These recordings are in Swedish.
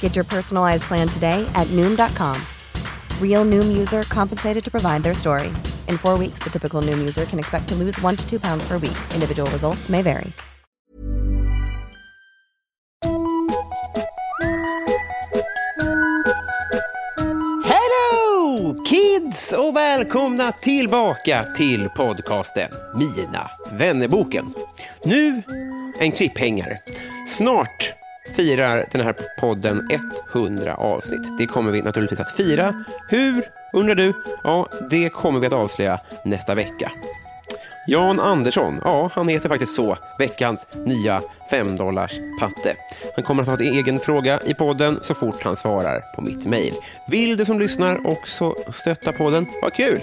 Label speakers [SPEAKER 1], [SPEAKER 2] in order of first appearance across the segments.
[SPEAKER 1] Get your personalized plan today at Noom.com. Real Noom user compensated to provide their story. In four weeks, the typical Noom user can expect to lose one to two pounds per week. Individual results may vary.
[SPEAKER 2] Hello kids och välkomna tillbaka till podcasten Mina vännerboken. Nu en klipphängare. Snart firar den här podden 100 avsnitt. Det kommer vi naturligtvis att fira. Hur, undrar du? Ja, det kommer vi att avslöja nästa vecka. Jan Andersson, ja, han heter faktiskt så, veckans nya 5 patte. Han kommer att ha en egen fråga i podden så fort han svarar på mitt mejl. Vill du som lyssnar också stötta podden? Vad kul!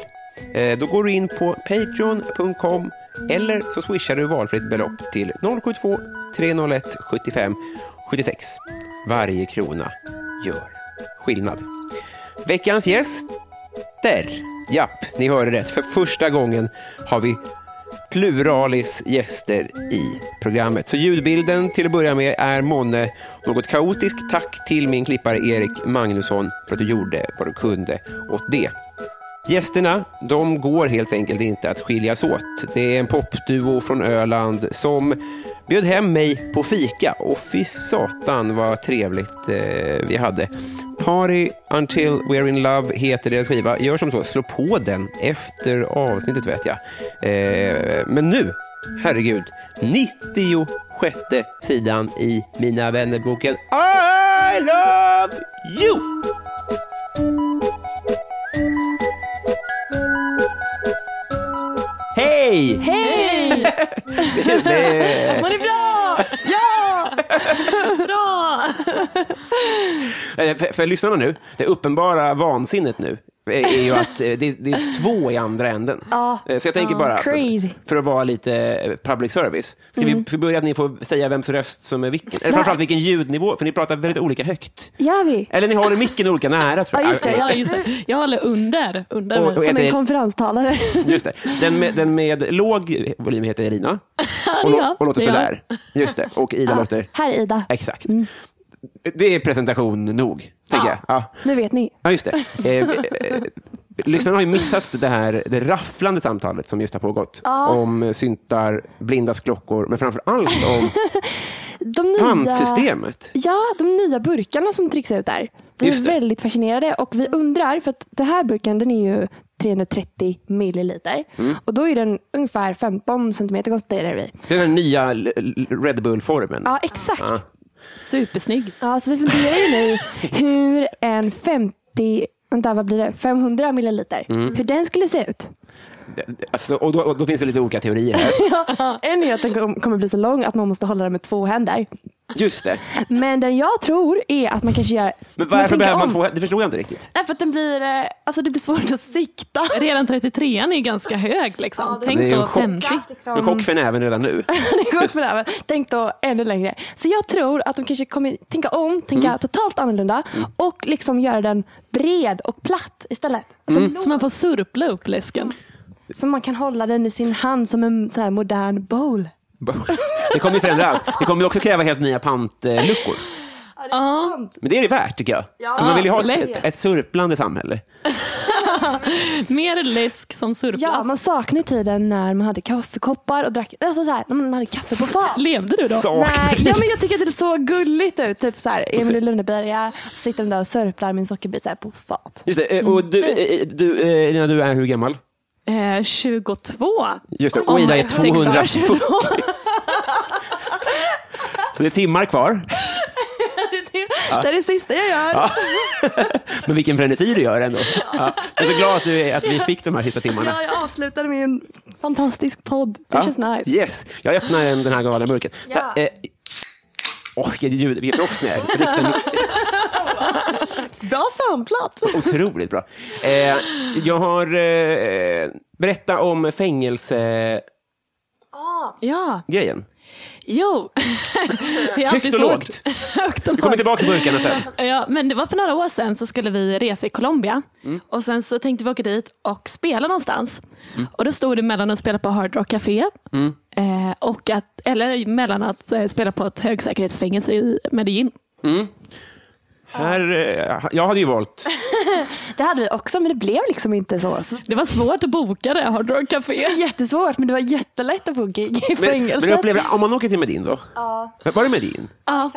[SPEAKER 2] Eh, Då går du in på patreon.com eller så swishar du valfritt belopp till 072 301 75 76. Varje krona gör skillnad. Veckans gäst gäster. Japp, ni hörde rätt. För första gången har vi pluralis gäster i programmet. Så ljudbilden till att börja med är månne något kaotisk. Tack till min klippare Erik Magnusson för att du gjorde vad du kunde åt det. Gästerna, de går helt enkelt inte att skiljas åt. Det är en popduo från Öland som bjöd hem mig på fika och fy satan vad trevligt eh, vi hade. Party Until We're In Love heter deras skiva. Gör som så, slå på den efter avsnittet vet jag. Eh, men nu, herregud, 96 sidan i Mina vännerboken I love you! Hej!
[SPEAKER 3] Hej!
[SPEAKER 2] Det-
[SPEAKER 3] Mår ni bra? Ja! Bra!
[SPEAKER 2] Eh, För, för lyssnarna nu, det uppenbara vansinnet nu eh, är ju att eh, det, det är två i andra änden.
[SPEAKER 3] Ja.
[SPEAKER 2] Eh, Så jag tänker
[SPEAKER 3] Ja,
[SPEAKER 2] bara,
[SPEAKER 3] crazy.
[SPEAKER 2] för, för att vara lite eh, public service, ska
[SPEAKER 4] Mm.
[SPEAKER 2] vi ska vi börja att ni får säga vems röst som är vilken? Eller framförallt vilken ljudnivå, för ni pratar väldigt olika högt.
[SPEAKER 4] Gör vi?
[SPEAKER 2] Eller ni har micken olika nära tror jag.
[SPEAKER 4] Ja, just det,
[SPEAKER 3] Ja, just det. Jag håller under. under
[SPEAKER 2] Och- och
[SPEAKER 3] mig.
[SPEAKER 4] Som
[SPEAKER 2] heter-
[SPEAKER 4] en konferenstalare.
[SPEAKER 2] Just det. Den, med, den med låg volym heter Elina. Och,
[SPEAKER 3] jag.
[SPEAKER 2] och låter
[SPEAKER 3] Det är jag.
[SPEAKER 2] sådär. Just det. Och Ida låter...
[SPEAKER 4] Här Ida.
[SPEAKER 2] Exakt.
[SPEAKER 4] Mm.
[SPEAKER 2] Det är presentation nog, tänker jag. Ja.
[SPEAKER 4] Nu vet ni.
[SPEAKER 2] Ja, just det. Eh, eh, lyssnarna har ju missat det här det rafflande samtalet som just har pågått. Om syntar, blindas klockor, men framför allt om
[SPEAKER 4] De nya,
[SPEAKER 2] pantsystemet.
[SPEAKER 4] Ja, de nya burkarna som trycks ut där. Vi
[SPEAKER 2] Just
[SPEAKER 4] är
[SPEAKER 2] det.
[SPEAKER 4] väldigt fascinerade och vi undrar, för att den här burken den är ju 330 milliliter
[SPEAKER 2] Mm.
[SPEAKER 4] och då är den ungefär 15 centimeter konstaterar vi.
[SPEAKER 2] Den här nya L- L- Red Bull-formen.
[SPEAKER 4] Ja, exakt.
[SPEAKER 2] Ja.
[SPEAKER 3] Supersnygg.
[SPEAKER 4] Ja, så vi funderar ju nu hur en 50, vänta vad blir det, 500 milliliter,
[SPEAKER 2] Mm.
[SPEAKER 4] hur den skulle se ut.
[SPEAKER 2] Alltså, och, då, och då finns det lite olika teorier här.
[SPEAKER 4] En är att den kom- kommer bli så lång att man måste hålla den med två händer.
[SPEAKER 2] Just det.
[SPEAKER 4] Men den jag tror är att man kanske gör...
[SPEAKER 2] Men varför
[SPEAKER 4] tänker
[SPEAKER 2] behöver man
[SPEAKER 4] om.
[SPEAKER 2] två Det förstår jag inte riktigt.
[SPEAKER 4] Nej, för att den blir, eh, alltså det blir svårt att sikta.
[SPEAKER 3] Redan 33an är ganska hög. Liksom.
[SPEAKER 2] Det är
[SPEAKER 3] Tänk
[SPEAKER 2] ju
[SPEAKER 3] på
[SPEAKER 2] en chock.
[SPEAKER 3] 50.
[SPEAKER 4] liksom.
[SPEAKER 2] En chock för näven redan nu.
[SPEAKER 4] Det går för det här, men Tänk då ännu längre. Så jag tror att de kanske kommer tänka om, tänka
[SPEAKER 2] Mm.
[SPEAKER 4] totalt annorlunda och liksom göra den bred och platt istället. Alltså,
[SPEAKER 2] Mm.
[SPEAKER 3] Så man får surpla upp läsken.
[SPEAKER 4] Så man kan hålla den i sin hand som en sån här modern bowl.
[SPEAKER 2] Det kommer ju förändra allt. Det kommer ju också kräva helt nya pantluckor.
[SPEAKER 4] Ja,
[SPEAKER 2] Men det är det värt tycker jag. För man vill ju ha ett,
[SPEAKER 4] lätt.
[SPEAKER 2] ett surplande samhälle.
[SPEAKER 3] Mer läsk som surplast.
[SPEAKER 4] ja, man saknar ju tiden när man hade kaffekoppar och drack, alltså så här, när man hade kaffe på fat.
[SPEAKER 3] Levde du då?
[SPEAKER 2] Saknar
[SPEAKER 4] Nej,
[SPEAKER 2] det.
[SPEAKER 4] ja, men jag tycker att det såg gulligt ut. Typ så här, Emil i Lönneberga sitter den där och sörplar min sockerbit så här på fat.
[SPEAKER 2] Just det, eh, och du, eh, eh, du, eh, Elina, du är hur gammal?
[SPEAKER 3] Eh, 22.
[SPEAKER 2] Just det,
[SPEAKER 3] Oh
[SPEAKER 2] och Ida
[SPEAKER 3] my
[SPEAKER 2] är
[SPEAKER 3] God.
[SPEAKER 2] 240. Så det är timmar kvar.
[SPEAKER 4] Det är det sista jag gör.
[SPEAKER 2] Men vilken frenesi du gör ändå. Ja. Jag är så glad att, du är, att vi fick de här sista timmarna.
[SPEAKER 4] Ja, jag avslutade med en fantastisk podd. Det
[SPEAKER 2] Ja.
[SPEAKER 4] känns nice.
[SPEAKER 2] Yes, jag öppnar den den här galna burken. Så,
[SPEAKER 4] Ja.
[SPEAKER 2] eh, Åh, vilket ljud, vilket proffs ni är. Riktigt mycket.
[SPEAKER 4] Bra samplat.
[SPEAKER 2] Otroligt bra. Eh, jag har... Eh, berätta om fängelsegrejen.
[SPEAKER 3] Ja, jo. Det är
[SPEAKER 2] Högt
[SPEAKER 3] alltid
[SPEAKER 2] och
[SPEAKER 3] svårt.
[SPEAKER 2] lågt.
[SPEAKER 3] Högt och
[SPEAKER 2] Vi kommer
[SPEAKER 3] lågt.
[SPEAKER 2] tillbaka till burkarna sen.
[SPEAKER 3] Ja, men det var för några år sedan så skulle vi resa i Colombia och sen så tänkte vi åka dit och spela någonstans. Och då stod det mellan att spela på Hard Rock Café eh, och att, eller mellan att eh, spela på ett högsäkerhetsfängelse i Medellin.
[SPEAKER 2] Här, eh, jag hade ju valt...
[SPEAKER 4] Det hade vi också, men det blev liksom inte så. så.
[SPEAKER 3] Det var svårt att boka det, Hard Rock Café.
[SPEAKER 4] Jättesvårt, men det var jättelätt att få gig i
[SPEAKER 2] Men, men
[SPEAKER 4] fängelset.
[SPEAKER 2] jag upplever, om man åker till Medin då. Var det Medin?
[SPEAKER 3] Ja,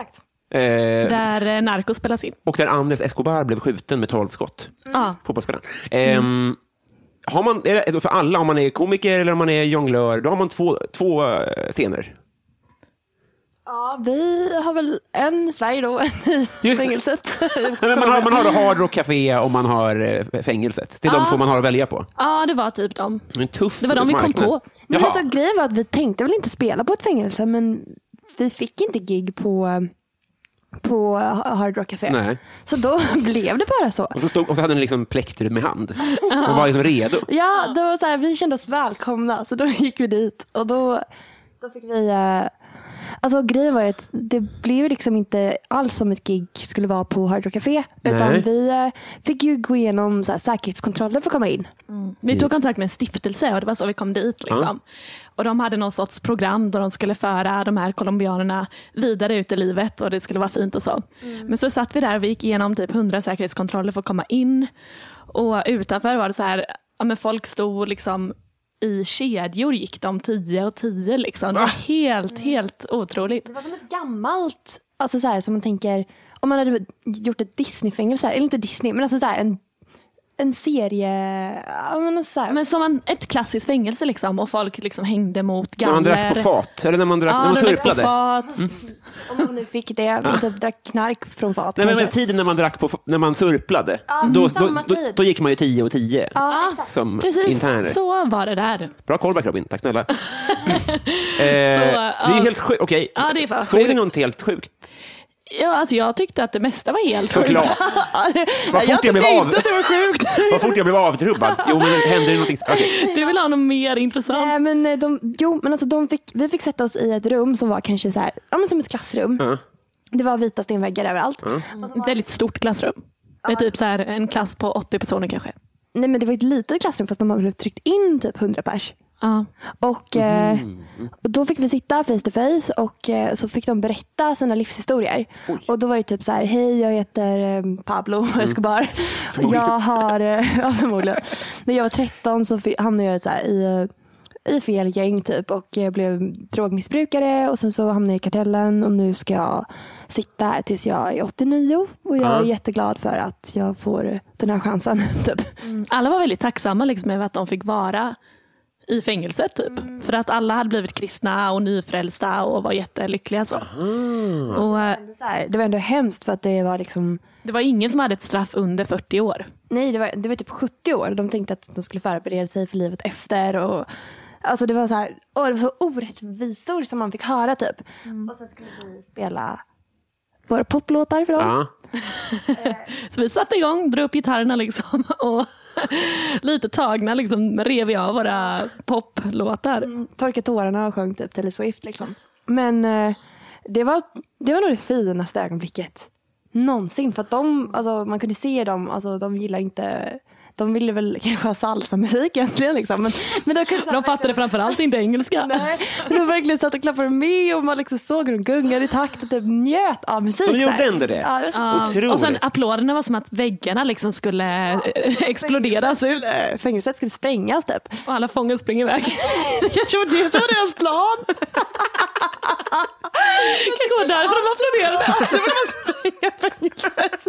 [SPEAKER 2] Eh,
[SPEAKER 3] där eh, Narcos spelas in.
[SPEAKER 2] och där Andres Escobar blev skjuten med 12 skott.
[SPEAKER 3] Ja.
[SPEAKER 2] Fotbollsspelaren. Ehm, har man, är det för alla, om man är komiker eller om man är jonglör, då har man två, två eh, scener.
[SPEAKER 4] Ja, vi har väl en i Sverige då, en i
[SPEAKER 2] Just-
[SPEAKER 4] fängelset.
[SPEAKER 2] Nej, men man, har, man har Hard Rock Café och man har eh, fängelset. Det är de två man har att välja på.
[SPEAKER 3] ja, det var typ dem.
[SPEAKER 2] Det, är en tuff
[SPEAKER 3] Det var de vi kom
[SPEAKER 2] marknad.
[SPEAKER 3] på.
[SPEAKER 4] Men
[SPEAKER 2] Jaha.
[SPEAKER 4] alltså, grejen var att vi tänkte väl inte spela på ett fängelse, men vi fick inte gig på, på Hard Rock Café.
[SPEAKER 2] Nej.
[SPEAKER 4] Så då blev det bara så.
[SPEAKER 2] Och, så stod, och så hade den liksom plektrum i hand och var liksom redo.
[SPEAKER 4] Ja, det var så här, vi kände oss välkomna så då gick vi dit och då, då fick vi eh, Alltså grejen var ju att det blev liksom inte alls som ett gig skulle vara på Hard Rock Café.
[SPEAKER 2] Nej.
[SPEAKER 4] Utan vi eh, fick ju gå igenom så här, säkerhetskontroller för att komma in.
[SPEAKER 3] Vi
[SPEAKER 2] Mm.
[SPEAKER 3] tog kontakt med en stiftelse och det var så vi kom dit. Liksom. Och De hade någon sorts program där de skulle föra de här colombianerna vidare ut i livet och det skulle vara fint och så.
[SPEAKER 2] Mm.
[SPEAKER 3] Men så satt vi där och vi gick igenom typ 100 säkerhetskontroller för att komma in. Och utanför var det så här, ja, men folk stod liksom i kedjor gick de 10 och 10 liksom. Det var
[SPEAKER 2] Ah.
[SPEAKER 3] helt,
[SPEAKER 2] Mm.
[SPEAKER 3] helt otroligt.
[SPEAKER 4] Det var som ett gammalt, alltså så här som man tänker, om man hade gjort ett Disney-fängelse, eller inte Disney, men alltså så här en, en serie, ja, men alltså så här,
[SPEAKER 3] Men som en, ett klassiskt fängelse liksom och folk liksom hängde mot
[SPEAKER 2] När
[SPEAKER 3] galler.
[SPEAKER 2] man drack på fat, eller när man, drack,
[SPEAKER 3] Ja,
[SPEAKER 2] när man
[SPEAKER 3] de drack på
[SPEAKER 2] surplade.
[SPEAKER 3] fat.
[SPEAKER 4] om man nu fick det, man typ drack knark från fat.
[SPEAKER 2] Nej, men, men
[SPEAKER 4] kanske.
[SPEAKER 2] tiden när man drack på, f- när man surplade,
[SPEAKER 4] Ja,
[SPEAKER 2] då, då,
[SPEAKER 4] samma
[SPEAKER 2] då,
[SPEAKER 4] tid.
[SPEAKER 2] då gick man ju 10 och 10
[SPEAKER 4] ja,
[SPEAKER 2] som
[SPEAKER 3] Precis,
[SPEAKER 2] interner.
[SPEAKER 3] så var det där.
[SPEAKER 2] Bra callback Robin, tack snälla. eh, det är
[SPEAKER 3] ja.
[SPEAKER 2] helt sjukt. Okej,
[SPEAKER 3] Ja, det är fan
[SPEAKER 2] såg ni
[SPEAKER 3] sjukt.
[SPEAKER 2] något helt sjukt?
[SPEAKER 3] Ja, alltså jag tyckte att det mesta var helt sjukt.
[SPEAKER 2] Såklart. Vad fort jag blev av. Det var sjukt. Vad fort jag blev avtrubbad. Jo, men hände det någonting? Okej.
[SPEAKER 3] Du vill ha något mer intressant?
[SPEAKER 4] Nej, men eh, de, jo, men alltså de fick, vi fick sätta oss i ett rum som var kanske så här, ja, men som ett klassrum. Det var vita stenväggar överallt.
[SPEAKER 3] Ett väldigt stort klassrum. Med typ så här en klass på 80 personer kanske.
[SPEAKER 4] Nej, men det var ett litet klassrum fast de hade tryckt in typ 100 pers.
[SPEAKER 3] Ja.
[SPEAKER 4] Och, eh, och då fick vi sitta face to face och eh, så fick de berätta sina livshistorier. Och då var det typ så här, hej jag heter eh, Pablo Escobar. Jag har, eh, ja förmodligen. När jag var 13 så fi- hamnade jag så här, i, eh, i fel gäng typ och eh, blev drogmissbrukare och sen så hamnade jag i kartellen och nu ska jag sitta här tills jag är 89 och jag är jätteglad för att jag får den här chansen. Typ.
[SPEAKER 3] Alla var väldigt tacksamma liksom över att de fick vara i fängelset typ. För att alla hade blivit kristna och nyfrälsta och var jättelyckliga så. Och eh,
[SPEAKER 4] Så här, det var ändå hemskt för att det var liksom
[SPEAKER 3] det var ingen som hade ett straff under 40 år.
[SPEAKER 4] Nej, det var, det var typ 70 år. De tänkte att de skulle förbereda sig för livet efter. Och, alltså det var så här, åh, det var så orättvisor som man fick höra typ.
[SPEAKER 3] Mm.
[SPEAKER 4] Och sen skulle vi spela våra poplåtar för dem.
[SPEAKER 2] Ja.
[SPEAKER 3] Så vi satte igång, drog upp gitarrerna liksom och lite tagna liksom rev vi av våra poplåtar.
[SPEAKER 4] Torka tårarna och sjöng typ Taylor Swift liksom. Men eh, det var, det var nog det finaste ögonblicket någonsin. För att de, alltså, man kunde se dem, alltså, de gillar inte de ville väl kanske ha salsamusik egentligen. Liksom. Men, men de, kunde,
[SPEAKER 3] De fattade framförallt inte engelska.
[SPEAKER 4] Nej, men de verkligen satt och klappade med och man liksom såg hur de gungade i takt och typ njöt av musik.
[SPEAKER 2] De gjorde
[SPEAKER 4] så här.
[SPEAKER 2] ändå det?
[SPEAKER 4] Ja, det var
[SPEAKER 3] Ja,
[SPEAKER 2] Otroligt.
[SPEAKER 3] Och sen applåderna var som att väggarna liksom skulle exploderas ut
[SPEAKER 4] så- Fängelset skulle sprängas typ.
[SPEAKER 3] och alla fångar springer iväg. Det kanske var det som var deras plan. kanske var därför de applåderade. Det var de spränga fängelset.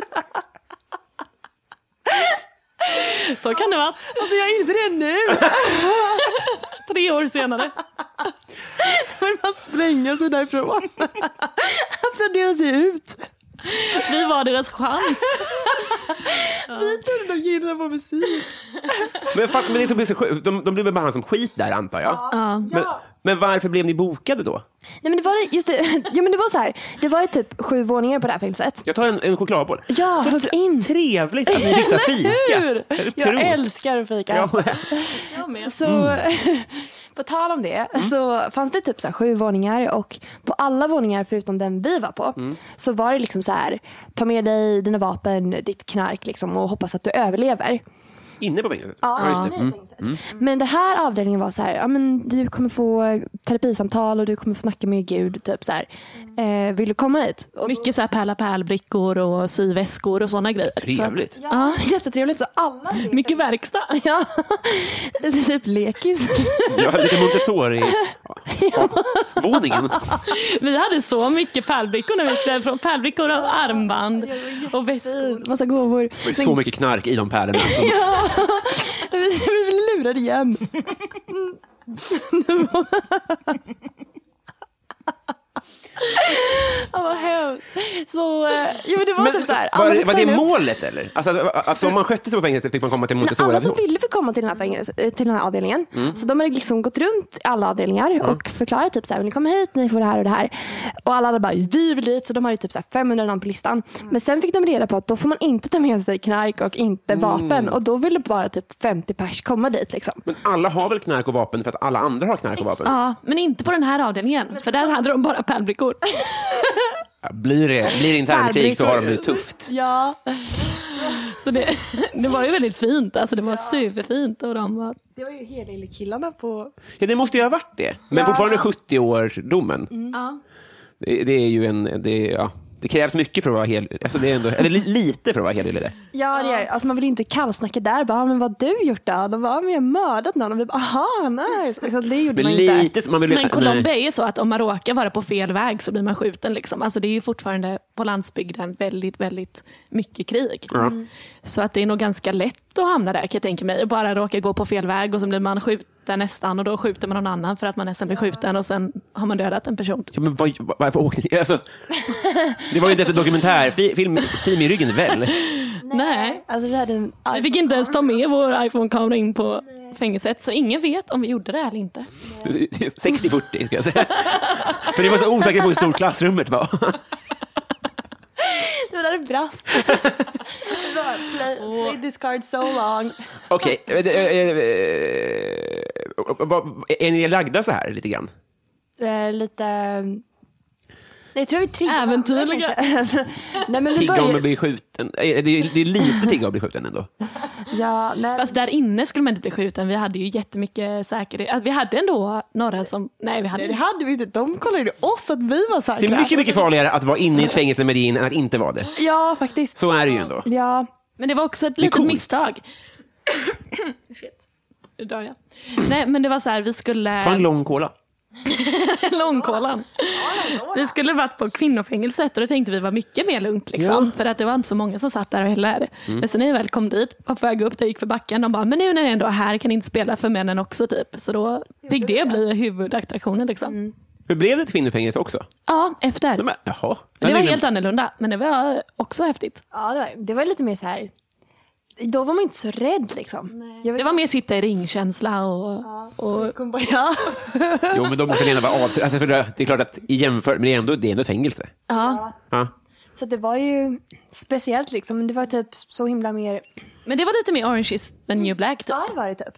[SPEAKER 3] Så kan det vara.
[SPEAKER 4] Alltså jag inser det nu.
[SPEAKER 3] Tre år senare.
[SPEAKER 4] Men man spränger sig därifrån. Applåderar sig ut.
[SPEAKER 3] Vi var deras chans.
[SPEAKER 4] Vi trodde de gillade vår musik.
[SPEAKER 2] Men, fatt, men det som blir så sjukt, de, de blev behandlade som skit där antar jag.
[SPEAKER 3] Ja.
[SPEAKER 2] Men, men varför blev ni bokade då?
[SPEAKER 4] Nej men det var just det, ja, men det var så här. Det var ju typ sju våningar på det här fängelset.
[SPEAKER 2] Jag tar en, en chokladboll.
[SPEAKER 4] Ja,
[SPEAKER 2] så
[SPEAKER 4] hugg in.
[SPEAKER 2] trevligt att ni fick så här fika. Eller hur?
[SPEAKER 4] Jag älskar att fika.
[SPEAKER 2] Ja, Mm. men-
[SPEAKER 4] Så på tal om det
[SPEAKER 2] Mm.
[SPEAKER 4] så fanns det typ så här sju våningar och på alla våningar förutom den vi var på
[SPEAKER 2] Mm.
[SPEAKER 4] så var det liksom så här ta med dig dina vapen, ditt knark liksom och hoppas att du överlever.
[SPEAKER 2] Inne på fängelset?
[SPEAKER 4] det.
[SPEAKER 2] Mm.
[SPEAKER 4] Men den här avdelningen var så här, ja, men du kommer få terapisamtal och du kommer få snacka med Gud. Typ så här. Eh, vill du komma hit? Och
[SPEAKER 3] Mycket så här pärla-pärlbrickor och syväskor och sådana grejer.
[SPEAKER 2] Trevligt.
[SPEAKER 3] Så att, ja.
[SPEAKER 4] jättetrevligt. Så alla
[SPEAKER 3] Mycket verkstad.
[SPEAKER 4] Ja, typ lekis.
[SPEAKER 2] Ja, lite Montessori-våningen.
[SPEAKER 3] Vi hade så mycket pärlbrickor när vi gick därifrån. Pärlbrickor och armband och väskor.
[SPEAKER 4] Massa gåvor.
[SPEAKER 2] Det var ju så mycket knark i de pärlorna. Som,
[SPEAKER 4] Ja, vi vi blev lurade igen. Ja, vad hemskt. Så, eh, jo, men det var typ så här. alla
[SPEAKER 2] var,
[SPEAKER 4] fick
[SPEAKER 2] var
[SPEAKER 4] signa
[SPEAKER 2] det
[SPEAKER 4] upp.
[SPEAKER 2] målet eller? Alltså, att- alltså om man skötte sig på Mm. fängelset fick man komma till alltså.
[SPEAKER 4] Men alla som
[SPEAKER 2] Montessori-vård?
[SPEAKER 4] ville fick komma alltså, till den här, fängelse, eh, till den här avdelningen. Så de hade liksom gått runt i alla avdelningar
[SPEAKER 2] Mm.
[SPEAKER 4] och förklarat typ så här, "Vill ni kommer hit, ni får det här och det här. Och alla hade bara, vi vill dit. Så de hade typ så här 500 namn på listan.
[SPEAKER 3] Mm.
[SPEAKER 4] Men sen fick de reda på att då får man inte ta med sig knark och inte
[SPEAKER 2] Mm.
[SPEAKER 4] vapen. Och då ville bara typ 50 pers komma dit. Liksom.
[SPEAKER 2] Men alla har väl knark och vapen för att alla andra har knark och vapen?
[SPEAKER 3] Ja, men inte på den här avdelningen. För där hade de bara pärlbrickor.
[SPEAKER 2] Ja, Blir det, blir det internkrig så har de det tufft.
[SPEAKER 4] Ja,
[SPEAKER 3] Så det, det var ju väldigt fint. Alltså det var superfint. Och de var,
[SPEAKER 4] det var ju hela killarna på...
[SPEAKER 2] Ja, det måste ju ha varit det. Men fortfarande 70-årsdomen.
[SPEAKER 3] ja.
[SPEAKER 2] Det, det är ju en... Det, är- ja, det krävs mycket för att vara hel... Alltså det är ändå, eller li, lite för att vara helylle där.
[SPEAKER 4] Ja, det är, alltså man vill inte kallsnacka där. Bara, men vad har du gjort då? De bara, men jag har mördat någon. Och vi bara, aha, nice. Liksom, det gjorde
[SPEAKER 2] Men
[SPEAKER 4] man inte.
[SPEAKER 2] lite... Man vill,
[SPEAKER 3] Men Colombia
[SPEAKER 2] nej.
[SPEAKER 3] är så att om man råkar vara på fel väg så blir man skjuten. Liksom. Alltså det är ju fortfarande på landsbygden väldigt, väldigt mycket krig. Mm. Så att det är nog ganska lätt att hamna där kan jag tänka mig. Bara råka gå på fel väg och så blir man skjuten nästan och då skjuter man någon annan för att man nästan blir skjuten och sen har man dödat en person.
[SPEAKER 2] Ja, men vad, varför åkte ni? Alltså, det var ju inte ett dokumentärfilm film i ryggen väl?
[SPEAKER 3] Nej.
[SPEAKER 4] Alltså, vi hade en
[SPEAKER 3] Vi fick inte ens ta med vår iPhone-kamera in på fängelset så ingen vet om vi gjorde det eller inte.
[SPEAKER 2] 60-40 ska jag säga. För ni var så osäkra på hur stort klassrummet var.
[SPEAKER 4] Det där brast. play, play this card so long.
[SPEAKER 2] Okej, eh, eh, eh, eh, vad- är ni lagda så här lite grann?
[SPEAKER 4] Eh, lite... Nej, jag tror vi triggar
[SPEAKER 3] Äventyrliga.
[SPEAKER 4] varandra kanske. nej, men vi
[SPEAKER 2] Tigga om att
[SPEAKER 4] börjar...
[SPEAKER 2] bli skjuten? Eh, Det är, det är lite tigga om att bli skjuten ändå.
[SPEAKER 4] Ja, nej.
[SPEAKER 3] Fast Alltså, där inne skulle man inte bli skjuten. Vi hade ju jättemycket säkerhet. Alltså, Vi hade ändå några som... Nej, vi hade
[SPEAKER 4] Nej, det hade vi inte. De kollade ju oss att vi var säkra.
[SPEAKER 2] Det är mycket, mycket farligare att vara inne i ett fängelse med din än att inte vara det.
[SPEAKER 4] Ja, faktiskt.
[SPEAKER 2] Så är det ju ändå.
[SPEAKER 4] Ja.
[SPEAKER 3] Men det var också ett
[SPEAKER 2] är
[SPEAKER 3] litet
[SPEAKER 2] coolt.
[SPEAKER 3] misstag. Shit. Nu dör jag. Nej, men det var så här, vi skulle...
[SPEAKER 2] Ta en lång cola.
[SPEAKER 3] Långkolan. Vi skulle varit på kvinnofängelset och då tänkte vi var mycket mer lugnt. Liksom, För att det var inte så många som satt där heller.
[SPEAKER 2] Mm.
[SPEAKER 3] Men sen när vi väl kom dit, var på väg upp, där gick för backen. De bara, men nu när ni ändå är här kan ni inte spela för männen också. Typ. Så då fick det bli huvudattraktionen. Liksom.
[SPEAKER 2] Hur blev det ett kvinnofängelse också?
[SPEAKER 3] Ja, efter.
[SPEAKER 2] De är, jaha.
[SPEAKER 3] Det var
[SPEAKER 2] Den är
[SPEAKER 3] helt
[SPEAKER 2] glömt.
[SPEAKER 3] annorlunda, men det var också häftigt.
[SPEAKER 4] ja det, var, det var lite mer så här... Då var man inte så rädd liksom. Jag vet-
[SPEAKER 3] Det var mer sitta i ringkänsla och, och
[SPEAKER 4] kom bara, ja.
[SPEAKER 2] Jo, men då måste den ändå vara avtryckt. Alltså, för det det är klart att i jämför, men det är ändå, det är ändå ett fängelse.
[SPEAKER 3] ja.
[SPEAKER 2] Ja.
[SPEAKER 4] Så det var ju speciellt liksom. Men det var typ så himla mer...
[SPEAKER 3] Men det var lite mer orange is the new black. Typ.
[SPEAKER 4] Ja, det var det typ.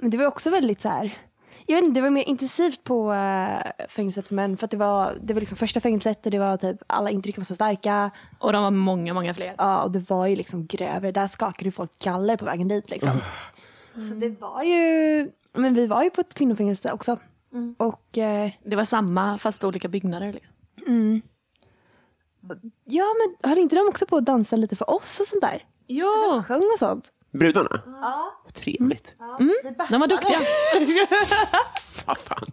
[SPEAKER 4] Men det var också väldigt så här... Jag vet inte, det var mer intensivt på eh, fängelset för män. För att det var, det var liksom första fängelset och det var typ alla intryck var så starka.
[SPEAKER 3] Och de var många, många fler.
[SPEAKER 4] Ja, och det var ju liksom grövre. Där skakade ju folk galler på vägen dit. Liksom. Så det var ju... Men vi var ju på ett kvinnofängelse också. Och eh,
[SPEAKER 3] Det var samma fast olika byggnader. Liksom.
[SPEAKER 4] ja, men höll inte de också på att dansa lite för oss och sånt där?
[SPEAKER 3] Ja,
[SPEAKER 4] Sjöng och sånt.
[SPEAKER 2] Brudarna? Ja. Trevligt.
[SPEAKER 3] de var duktiga.
[SPEAKER 2] Ah, fan.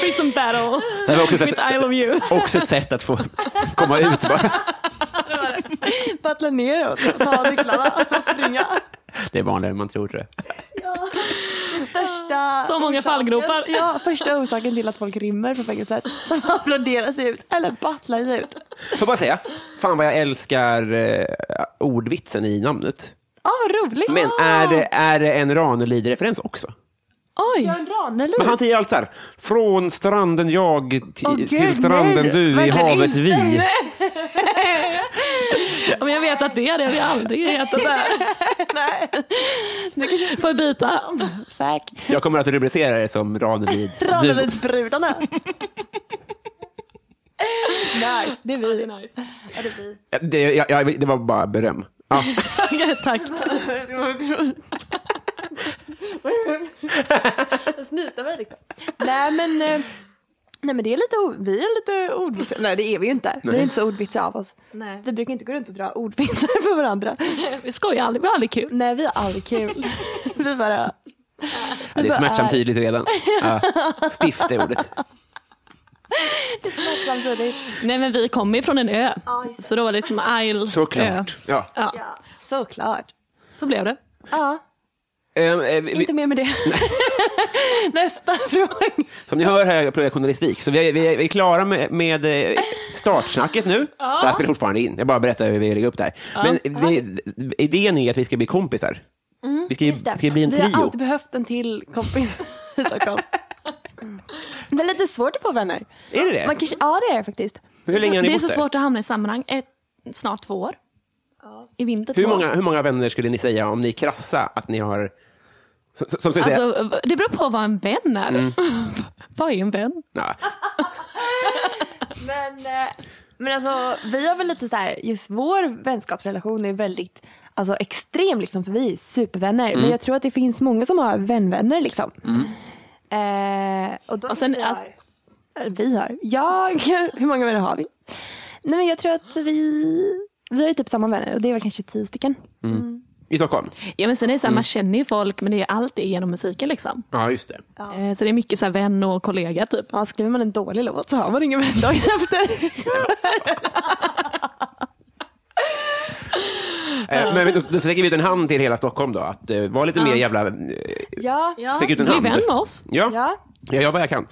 [SPEAKER 3] Prison battle
[SPEAKER 2] Det var också ett,
[SPEAKER 3] with I
[SPEAKER 2] sätt,
[SPEAKER 3] love you.
[SPEAKER 2] också ett sätt att få komma ut bara.
[SPEAKER 4] Battla neråt, ta nycklarna och springa.
[SPEAKER 2] Det är vanligare än man tror. tror jag.
[SPEAKER 4] Största
[SPEAKER 3] Så många fallgropar.
[SPEAKER 4] Ja, första orsaken till att folk rymmer från fängelset. De applåderar sig ut, eller battlar sig ut.
[SPEAKER 2] Får bara säga, fan vad jag älskar eh, ordvitsen i namnet.
[SPEAKER 4] Ja, vad roligt.
[SPEAKER 2] Men är det, är det en Ranelid-referens också?
[SPEAKER 3] Oj,
[SPEAKER 4] Björn Ranelid.
[SPEAKER 2] Men han säger allt så här. Från stranden jag ti-
[SPEAKER 4] Åh, gud,
[SPEAKER 2] till stranden
[SPEAKER 4] nej.
[SPEAKER 2] du i
[SPEAKER 4] Verkligen
[SPEAKER 2] havet
[SPEAKER 4] inte.
[SPEAKER 2] vi.
[SPEAKER 3] men jag vet att det hade jag aldrig hetat.
[SPEAKER 4] Nej.
[SPEAKER 3] Får jag byta?
[SPEAKER 4] Fuck.
[SPEAKER 2] Jag kommer att rubricera det som Ranelid. Du,
[SPEAKER 4] Ranelidbrudarna. nice, det är vi.
[SPEAKER 2] det, jag, jag, det var bara beröm. Ja.
[SPEAKER 3] Tack.
[SPEAKER 4] Snyta mig liksom. Nej men, eh, nej, men det är lite, o- vi är lite ordvitsiga. Nej det är vi ju inte. Vi är inte så ordvitsiga av oss.
[SPEAKER 3] Nej.
[SPEAKER 4] Vi brukar inte gå runt och dra ordvitsar på varandra.
[SPEAKER 3] Vi skojar aldrig, vi har aldrig kul.
[SPEAKER 4] Nej vi har aldrig kul. vi bara,
[SPEAKER 2] Ja, det är smärtsamt tydligt redan. Ja. Stift är ordet.
[SPEAKER 4] samtidigt.
[SPEAKER 3] Nej men vi kommer ju från en ö.
[SPEAKER 4] just det.
[SPEAKER 3] Så då var det som Isle ö.
[SPEAKER 2] Såklart. Ja.
[SPEAKER 3] Ja,
[SPEAKER 4] Ja, såklart.
[SPEAKER 3] så blev det.
[SPEAKER 4] Ja,
[SPEAKER 2] Ehm, eh, vi,
[SPEAKER 4] inte mer med det. Nästa fråga.
[SPEAKER 2] som ni hör här, jag pluggar journalistik, så vi är, vi är, vi är klara med, med eh, startsnacket nu. Det här spelar fortfarande in, jag bara berättar hur vi lägger upp det här. Men det, idén är att vi ska bli kompisar. Vi ska, ju- ska bli en
[SPEAKER 4] Vi har
[SPEAKER 2] trio.
[SPEAKER 4] alltid behövt en till kompis i Stockholm. Det är lite svårt att få vänner.
[SPEAKER 2] Är det det?
[SPEAKER 4] Man kanske, ja det är det faktiskt.
[SPEAKER 2] Hur länge har ni
[SPEAKER 3] Det är
[SPEAKER 2] bott
[SPEAKER 3] så
[SPEAKER 2] där?
[SPEAKER 3] svårt att hamna i ett sammanhang. Ett, snart två år. I vinter två
[SPEAKER 2] Hur
[SPEAKER 3] år.
[SPEAKER 2] många, hur många vänner skulle ni säga om ni krassa att ni har... Som, som skulle säga,
[SPEAKER 3] Alltså, det beror på vad en vän är.
[SPEAKER 2] Mm.
[SPEAKER 3] vad är en vän?
[SPEAKER 2] nej,
[SPEAKER 4] Men, eh, men alltså, vi har väl lite så här, just vår vänskapsrelation är väldigt alltså, extrem liksom, för vi är supervänner. Men jag tror att det finns många som har vänvänner liksom. Eh, och de
[SPEAKER 3] Och sen,
[SPEAKER 4] vi,
[SPEAKER 3] alltså-
[SPEAKER 4] har, Eller vi har, jag, hur många vänner har vi? Nej men jag tror att vi, vi har ju typ samma vänner och det är väl kanske tio stycken.
[SPEAKER 2] I Stockholm?
[SPEAKER 3] Ja, men sen är det så
[SPEAKER 2] Mm.
[SPEAKER 3] här, Man känner ju folk, men det är allt det är genom musiken. Liksom.
[SPEAKER 2] Ja, just det.
[SPEAKER 3] Eh, Så det är mycket så här, vän och kollega. Typ.
[SPEAKER 4] Ja, skriver man en dålig låt så har man ingen vän dagen efter.
[SPEAKER 2] Eh, men då, då sträcker vi ut en hand till hela Stockholm då, att eh, vara lite mer jävla... Eh,
[SPEAKER 4] ja.
[SPEAKER 3] Ja,
[SPEAKER 2] Stick ut en
[SPEAKER 3] bli
[SPEAKER 2] hand.
[SPEAKER 3] vän med oss.
[SPEAKER 2] ja.
[SPEAKER 4] Ja.
[SPEAKER 2] jag gör vad jag kan.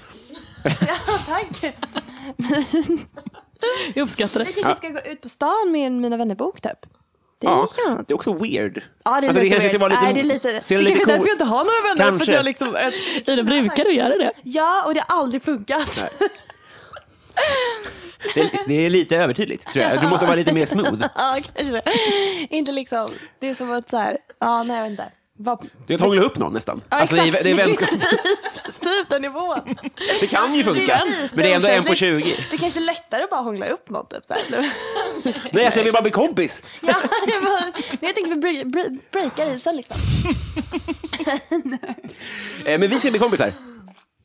[SPEAKER 4] tack.
[SPEAKER 3] Jag uppskattar det.
[SPEAKER 4] Jag kanske ska gå ut på stan med en Mina vännerbok typ. Det
[SPEAKER 2] Ja,
[SPEAKER 4] kan
[SPEAKER 2] det är också weird.
[SPEAKER 4] Ja, det är
[SPEAKER 2] Alltså,
[SPEAKER 4] lite
[SPEAKER 2] kanske ska
[SPEAKER 4] weird.
[SPEAKER 2] vara
[SPEAKER 4] Nej, det är lite...
[SPEAKER 2] ska göra lite
[SPEAKER 4] kanske är
[SPEAKER 2] cool-
[SPEAKER 4] därför jag inte har några vänner. För att
[SPEAKER 2] Kanske.
[SPEAKER 4] jag liksom...
[SPEAKER 3] Ida, brukar du göra det?
[SPEAKER 4] Ja, och det har aldrig funkat.
[SPEAKER 2] det, är, det är lite övertydligt, tror jag. Du måste vara lite mer smooth.
[SPEAKER 4] ja, kanske det. Inte liksom... Det är som att så här... Ja, nej, jag vet inte. Vad-
[SPEAKER 2] Det är att hångla upp någon nästan.
[SPEAKER 4] Ja,
[SPEAKER 2] alltså, det, är, det är vänskap.
[SPEAKER 4] typ den nivån.
[SPEAKER 2] Det kan ju funka, men det är ändå en på 20.
[SPEAKER 4] Det är kanske är lättare att bara hångla upp något. Typ, så här.
[SPEAKER 2] Nej, alltså, jag vill bara bli kompis.
[SPEAKER 4] ja, det var- men jag tänkte vi bre- bre- breakar isen liksom.
[SPEAKER 2] Eh, Men vi ska bli kompisar.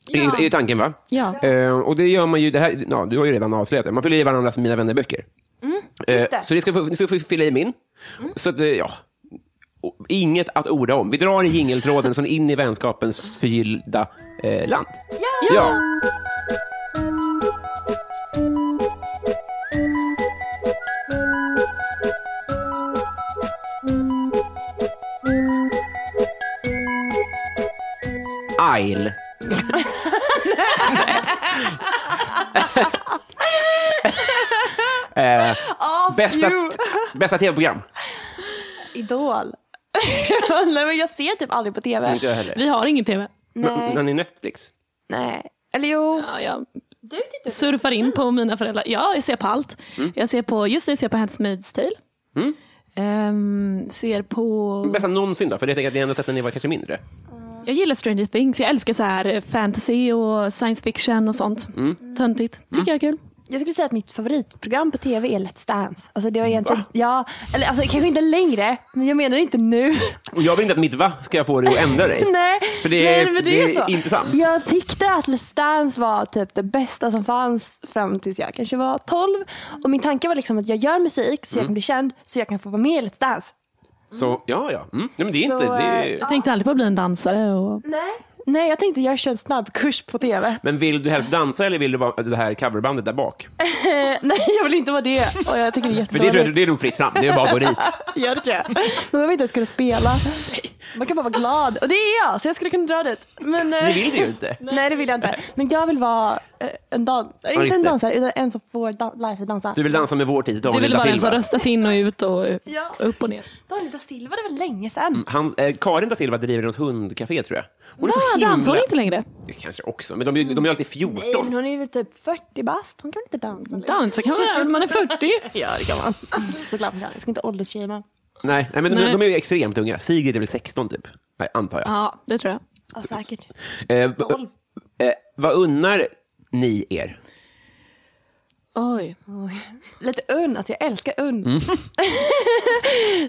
[SPEAKER 2] Ja. Är ju tanken va?
[SPEAKER 3] Ja.
[SPEAKER 2] Eh, och det gör man ju, det här, ja, du har ju redan avslöjat det, man fyller i varandras Mina vännerböcker. Mm,
[SPEAKER 4] det.
[SPEAKER 2] Så ni ska, få, ni ska få fylla i min. Så att, eh, ja, O- inget att orda om. Vi drar i jingeltråden så in i vänskapens förgyllda eh, land.
[SPEAKER 4] Ja.
[SPEAKER 2] Ja. Isle. eh, bästa bästa tv-program.
[SPEAKER 4] Idol. nej, men jag ser typ aldrig på tv.
[SPEAKER 2] Inte jag heller.
[SPEAKER 3] Vi har ingen tv.
[SPEAKER 4] Nej.
[SPEAKER 2] Men är Netflix.
[SPEAKER 4] nej. Eller jo.
[SPEAKER 3] Ja, jag
[SPEAKER 4] Du tittar
[SPEAKER 3] surfar in på mina föräldrar. Ja, jag ser på allt.
[SPEAKER 2] Mm.
[SPEAKER 3] Jag ser på, just nu ser jag på Handmaid's Tale. Ehm, ser på...
[SPEAKER 2] Bästa någonsin då? För jag tänker att ni ändå sett när ni var kanske mindre.
[SPEAKER 3] Jag gillar Stranger Things. Jag älskar så här eh, fantasy och science fiction och sånt.
[SPEAKER 2] Mm.
[SPEAKER 3] Töntigt. Tycker jag är kul.
[SPEAKER 4] Jag skulle säga att mitt favoritprogram på tv är Let's Dance. Alltså det var egentligen, ja, eller alltså, kanske inte längre, men jag menar inte nu.
[SPEAKER 2] Och jag vill inte att mitt va ska jag få dig att ändra dig.
[SPEAKER 4] Nej,
[SPEAKER 2] För det är-
[SPEAKER 4] nej, men
[SPEAKER 2] det är
[SPEAKER 4] så.
[SPEAKER 2] intressant.
[SPEAKER 4] Jag tyckte att Let's Dance var typ det bästa som fanns fram tills jag kanske var 12. Och min tanke var liksom att jag gör musik
[SPEAKER 2] Mm.
[SPEAKER 4] så jag kan bli känd så jag kan få vara med i Let's Dance.
[SPEAKER 2] Så, ja, ja. Mm. Nej, men det är
[SPEAKER 4] Så,
[SPEAKER 2] inte... Det är...
[SPEAKER 3] Jag tänkte aldrig på att bli en dansare. Och...
[SPEAKER 4] Nej. Nej, jag tänkte jag kör en snabbkurs på tv.
[SPEAKER 2] Men vill du helst dansa eller vill du vara det här coverbandet där bak?
[SPEAKER 4] Eh, nej, jag vill inte vara det. Och jag tycker det är
[SPEAKER 2] För det, tror jag,
[SPEAKER 4] jättedåligt.
[SPEAKER 2] det är nog fritt fram. Det är bara att gå dit.
[SPEAKER 4] Gör det tror jag. Man behöver inte ens kunna spela. Man kan bara vara glad. Och det är jag, så jag skulle kunna dra dit. Men, eh,
[SPEAKER 2] Ni vill det ju inte.
[SPEAKER 4] Nej, det vill jag inte. Men jag vill vara eh, en dans... eh,
[SPEAKER 2] just
[SPEAKER 4] inte en
[SPEAKER 2] det.
[SPEAKER 4] dansare, utan en som får dan- lära sig dansa.
[SPEAKER 2] Du vill dansa med vår tids
[SPEAKER 3] Du
[SPEAKER 2] Daniel
[SPEAKER 3] vill
[SPEAKER 2] da
[SPEAKER 3] bara alltså
[SPEAKER 2] Silva.
[SPEAKER 3] röstas in och ut och
[SPEAKER 4] Ja.
[SPEAKER 3] upp och ner.
[SPEAKER 4] Daniel da Silva, det var länge sedan.
[SPEAKER 2] Han, eh, Karin da Silva driver något hundcafé tror jag. Hon är
[SPEAKER 3] Ja,
[SPEAKER 2] så
[SPEAKER 3] dansar hon
[SPEAKER 2] himla...
[SPEAKER 3] inte längre?
[SPEAKER 2] Det Kanske också, men de, är- de är alltid 14.
[SPEAKER 4] Nej, men hon är ju typ 40 bast. Hon kan väl inte dansa? nu?
[SPEAKER 3] Dansa kan man göra när man är 40.
[SPEAKER 4] Ja, det kan man. Såklart man kan. Jag ska inte åldersshamea.
[SPEAKER 2] Nej, nej, men de,
[SPEAKER 3] Nej.
[SPEAKER 2] de är ju extremt unga. Sigrid är väl 16 typ, nej, antar jag.
[SPEAKER 3] Ja, det tror jag.
[SPEAKER 4] Ja, säkert.
[SPEAKER 2] Eh, v- eh, vad unnar ni er?
[SPEAKER 3] Oj.
[SPEAKER 4] Lite unn, alltså jag älskar unn.
[SPEAKER 2] Mm.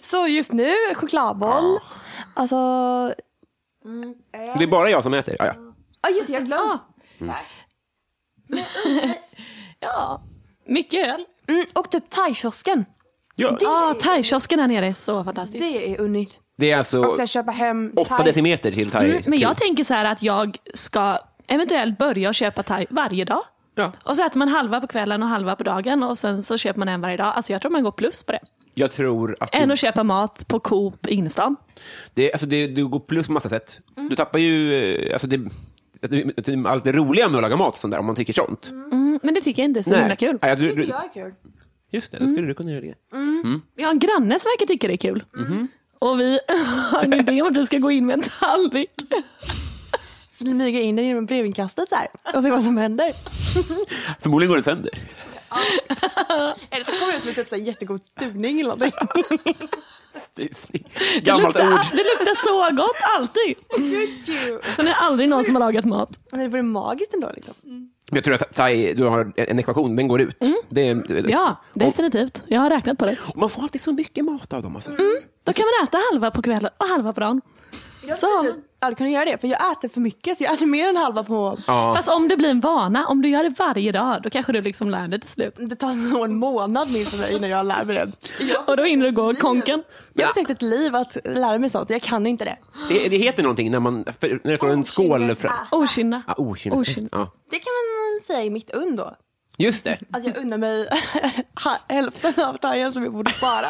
[SPEAKER 4] så just nu, chokladboll. Alltså,
[SPEAKER 3] Eh.
[SPEAKER 2] Det är bara jag som äter. Ja, ja.
[SPEAKER 4] ja just det, jag glömde.
[SPEAKER 3] Ja. Mycket öl.
[SPEAKER 4] Mm, och typ thaikiosken.
[SPEAKER 2] Ja,
[SPEAKER 3] Ja, thaikiosken här nere är så fantastisk.
[SPEAKER 4] Det är unnigt.
[SPEAKER 2] det är
[SPEAKER 4] Och
[SPEAKER 2] alltså
[SPEAKER 4] sen köpa hem
[SPEAKER 2] 8
[SPEAKER 4] thai.
[SPEAKER 2] decimeter till thai.
[SPEAKER 3] Mm, men jag tänker så här att jag ska eventuellt börja köpa thai varje dag.
[SPEAKER 2] Ja.
[SPEAKER 3] Och så äter man halva på kvällen och halva på dagen och sen så köper man en varje dag. Alltså jag tror man går plus på det.
[SPEAKER 2] jag tror att
[SPEAKER 3] Än
[SPEAKER 2] du,
[SPEAKER 3] att köpa mat på Coop i innerstan.
[SPEAKER 2] det, alltså det, du går plus på massa sätt.
[SPEAKER 3] Mm.
[SPEAKER 2] Du tappar ju eh, alltså det, att du- att du- allt det roliga med att laga mat och sånt där, om man tycker sånt.
[SPEAKER 3] Mm, men det tycker jag inte är så himla kul.
[SPEAKER 2] Nej, jag, du, du,
[SPEAKER 4] Jag är kul.
[SPEAKER 2] just det, då
[SPEAKER 3] Mm.
[SPEAKER 2] skulle du kunna göra det.
[SPEAKER 3] Vi har en granne som verkar tycka det är kul.
[SPEAKER 2] Mhm.
[SPEAKER 3] Och vi har en idé om att vi ska gå in med en tallrik.
[SPEAKER 4] Smyga in den genom brevinkastet så här. Och se vad som händer.
[SPEAKER 2] Förmodligen går den sönder.
[SPEAKER 4] Eller så kommer jag ut med typ så här jättegod stuvning eller någonting.
[SPEAKER 2] Stuvning.
[SPEAKER 3] Det
[SPEAKER 2] Gammalt
[SPEAKER 3] luktar,
[SPEAKER 2] ord.
[SPEAKER 3] det luktar så gott alltid. Sen är det aldrig någon som har lagat mat.
[SPEAKER 4] Men det vore magiskt ändå liksom.
[SPEAKER 2] Jag tror att thai, du har en ekvation, den går ut. Det är,
[SPEAKER 3] Mm. Ja, definitivt. Jag har räknat på det.
[SPEAKER 2] Och man får alltid så mycket mat av dem. Alltså.
[SPEAKER 3] Då kan man äta halva på kvällen och halva på dagen. Så,
[SPEAKER 4] Ja, du kan göra det. För jag äter för mycket så jag äter mer än halva på...
[SPEAKER 2] Ja.
[SPEAKER 3] fast om det blir en vana, om du gör det varje dag, då kanske du liksom lär dig till slut.
[SPEAKER 4] Det tar nog en månad minst för mig innan jag lär mig det.
[SPEAKER 3] Och då hinner du gå konken.
[SPEAKER 4] Jag har försökt ett liv att lära mig sånt. Jag kan inte det.
[SPEAKER 2] Det, det heter någonting när, man, för, när det står en skål. För,
[SPEAKER 3] Ah. Okynne.
[SPEAKER 2] ja, okynnesrätt.
[SPEAKER 3] Okynne.
[SPEAKER 2] Ja.
[SPEAKER 4] Det kan man säga i mitt und då.
[SPEAKER 2] Just det.
[SPEAKER 4] Att jag unnar mig ha- hälften av tajen som jag borde spara.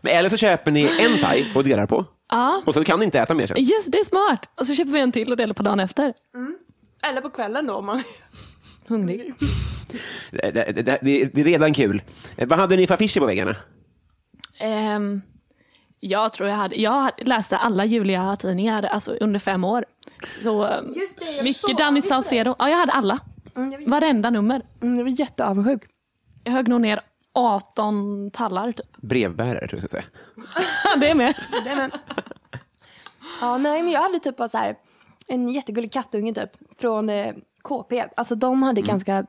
[SPEAKER 2] Men eller så köper ni en thai och delar på.
[SPEAKER 3] Ja.
[SPEAKER 2] Och så kan ni inte äta mer sen.
[SPEAKER 3] Just det, är smart. Och så köper vi en till och delar på dagen efter.
[SPEAKER 4] Eller på kvällen då om man...
[SPEAKER 3] Hungrig.
[SPEAKER 2] Det, det, det, det är redan kul. Eh, Vad hade ni för affischer på väggarna?
[SPEAKER 3] Ehm, jag tror jag hade, jag läste alla Julia-tidningar alltså under fem år. Så ehm,
[SPEAKER 4] Just det, jag såg
[SPEAKER 3] mycket Danny
[SPEAKER 4] det.
[SPEAKER 3] Saucedo. Ja, jag hade alla. Varenda nummer.
[SPEAKER 4] Mm, jag var jätteavundsjuk.
[SPEAKER 3] Jag högg nog ner 18 tallar typ.
[SPEAKER 2] Brevbärare, tror jag jag ska säga.
[SPEAKER 3] Det är med.
[SPEAKER 4] Nej, men... Ja, nej, men jag hade typ bara så här, en jättegullig kattunge typ, från eh, KP. Alltså de hade
[SPEAKER 2] Mm.
[SPEAKER 4] ganska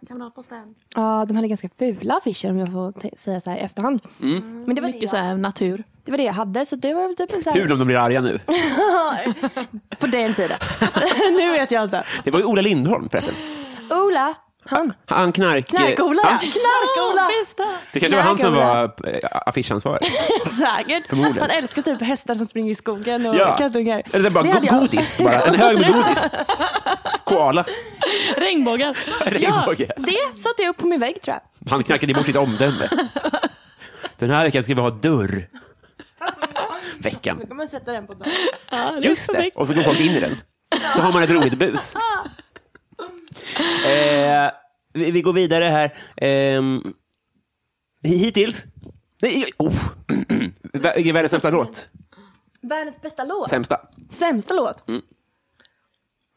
[SPEAKER 4] ja, de hade ganska fula affischer om jag får t- säga så här i efterhand.
[SPEAKER 2] Mm.
[SPEAKER 4] Men det var det,
[SPEAKER 3] Mycket så här natur.
[SPEAKER 4] det var det jag hade. Så det var väl typ en så här,
[SPEAKER 2] Kul om de blir arga nu.
[SPEAKER 4] på den tiden. nu vet jag inte.
[SPEAKER 2] Det var ju Ola Lindholm förresten.
[SPEAKER 4] Ola, han.
[SPEAKER 2] Han knark...
[SPEAKER 4] Knark-Ola.
[SPEAKER 2] Ja,
[SPEAKER 4] Knark-Ola.
[SPEAKER 3] Bästa.
[SPEAKER 2] det kanske var han som
[SPEAKER 4] Knark-Ola.
[SPEAKER 2] var eh, affischansvarig.
[SPEAKER 4] Säkert.
[SPEAKER 2] Förmodligen.
[SPEAKER 4] Han älskar typ hästar som springer i skogen och
[SPEAKER 2] Ja.
[SPEAKER 4] kattungar.
[SPEAKER 2] Eller det är bara go-
[SPEAKER 4] hade jag.
[SPEAKER 2] godis. Bara. En hög med godis. Koala.
[SPEAKER 3] Regnbågar. Ja,
[SPEAKER 2] Regnbåge.
[SPEAKER 4] Det satte jag upp på min vägg tror jag.
[SPEAKER 2] Han knackade bort sitt omdöme. Den här veckan ska vi ha dörr. Veckan.
[SPEAKER 4] kommer jag sätta den på dagen.
[SPEAKER 2] Just det.
[SPEAKER 3] perfekt.
[SPEAKER 2] Och så går folk in i den. Så har man ett roligt bus. Eh, vi, vi går vidare här. Ehm, hittills. Nej, oh. Vilken är världens sämsta låt?
[SPEAKER 4] Världens bästa låt.
[SPEAKER 2] Sämsta.
[SPEAKER 4] Sämsta låt?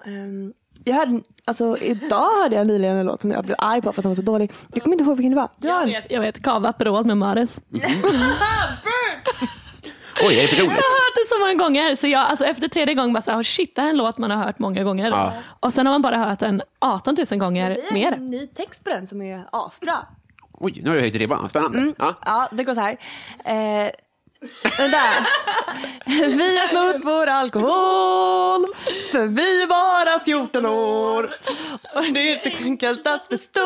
[SPEAKER 4] Ehm, jag hörde, alltså, idag hörde jag nyligen en låt som jag blev arg på för att den var så dålig. Jag kommer inte ihåg vilken det var. Du har
[SPEAKER 3] jag
[SPEAKER 4] en.
[SPEAKER 3] vet, jag vet. Cava Aperol med Mares.
[SPEAKER 2] Oj, är det för
[SPEAKER 3] Jag
[SPEAKER 2] roligt?
[SPEAKER 3] har hört det så många gånger. Så jag, alltså efter tredje gången bara så här, oh shit, det här är en låt man har hört många gånger.
[SPEAKER 2] Ja.
[SPEAKER 3] Och sen har man bara hört den 18 000 gånger
[SPEAKER 4] Det blir
[SPEAKER 3] mer.
[SPEAKER 4] en ny text på den som är asbra.
[SPEAKER 2] Oj, nu har du höjt ribban. Spännande. Ja.
[SPEAKER 4] Ja, det går så här. Eh, vänta. vi har snott vår alkohol för vi är bara 14 år. Och det är inte enkelt att förstå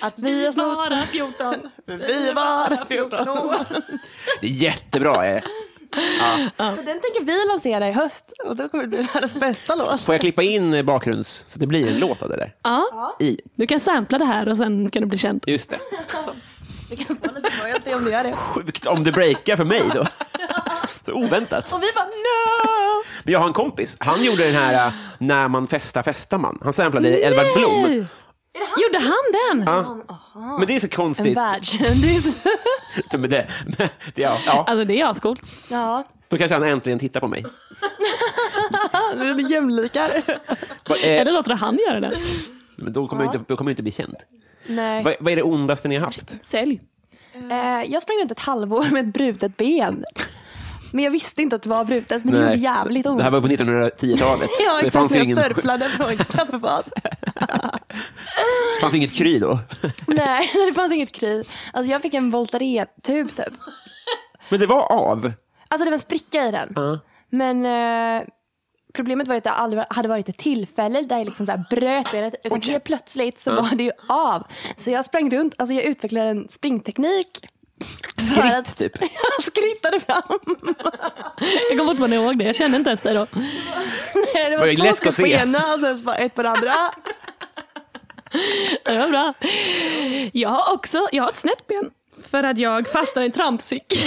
[SPEAKER 4] att vi har snott
[SPEAKER 3] Bara 14.
[SPEAKER 4] för vi är bara 14 år.
[SPEAKER 2] Det är jättebra. eh.
[SPEAKER 4] Så den tänker vi lansera i höst och då kommer det bli världens bästa låt.
[SPEAKER 2] Får jag klippa in eh, bakgrunds... Så det blir en låt av det där.
[SPEAKER 3] Ja,
[SPEAKER 2] I.
[SPEAKER 3] du kan sampla det här och sen kan du bli känd.
[SPEAKER 2] Just det.
[SPEAKER 4] Vi kan få lite royalty om du gör det.
[SPEAKER 2] Sjukt om det breakar för mig då. Så oväntat.
[SPEAKER 4] Och vi bara no!
[SPEAKER 2] Men jag har en kompis. Han gjorde den här eh, När man festar festar man. Han samplade Edvard Blom.
[SPEAKER 3] Gjorde han den?
[SPEAKER 2] Men det är så
[SPEAKER 4] En
[SPEAKER 2] konstigt.
[SPEAKER 4] världskändis.
[SPEAKER 2] Men det, men det, ja, ja.
[SPEAKER 3] Alltså det är ascoolt.
[SPEAKER 4] Ja,
[SPEAKER 2] Då kanske han äntligen tittar på mig.
[SPEAKER 4] vi jämlikar.
[SPEAKER 2] Va- eh,
[SPEAKER 3] Eller låter du han göra det?
[SPEAKER 2] Men då kommer jag inte, då kommer jag inte bli känd.
[SPEAKER 4] Nej.
[SPEAKER 2] Vad, vad är det ondaste ni har haft?
[SPEAKER 3] Sälj.
[SPEAKER 4] Eh, jag sprang runt ett halvår med ett brutet ben. Men jag visste inte att det var brutet, men det gjorde
[SPEAKER 2] Nej.
[SPEAKER 4] jävligt ont.
[SPEAKER 2] Det här var på 1910-talet.
[SPEAKER 4] ja,
[SPEAKER 2] det
[SPEAKER 4] exakt.
[SPEAKER 2] fanns, ju
[SPEAKER 4] jag
[SPEAKER 2] ingen,
[SPEAKER 4] sörplade på ett kaffefat.
[SPEAKER 2] fanns inget kry då.
[SPEAKER 4] Nej, det fanns inget kry. Alltså, jag fick en Voltaren-tub typ.
[SPEAKER 2] Men det var av.
[SPEAKER 4] Alltså det var en spricka i den. Men eh, problemet var ju att det aldrig hade varit ett tillfälle där jag liksom så här bröt benet. Utan helt plötsligt så var det ju av. Så jag sprang runt, alltså jag utvecklade en springteknik. Skritt
[SPEAKER 2] typ.
[SPEAKER 4] Jag skrittade fram.
[SPEAKER 3] Jag kommer fortfarande ihåg det. Jag kände inte ens det då.
[SPEAKER 4] Nej, det
[SPEAKER 2] Var
[SPEAKER 4] var
[SPEAKER 2] det
[SPEAKER 4] två
[SPEAKER 2] lätt att
[SPEAKER 4] skott på
[SPEAKER 2] se?
[SPEAKER 4] ena och sen bara ett på det andra.
[SPEAKER 3] Det var bra. Jag har också jag har ett snett ben för att jag fastnade i en trampcykel.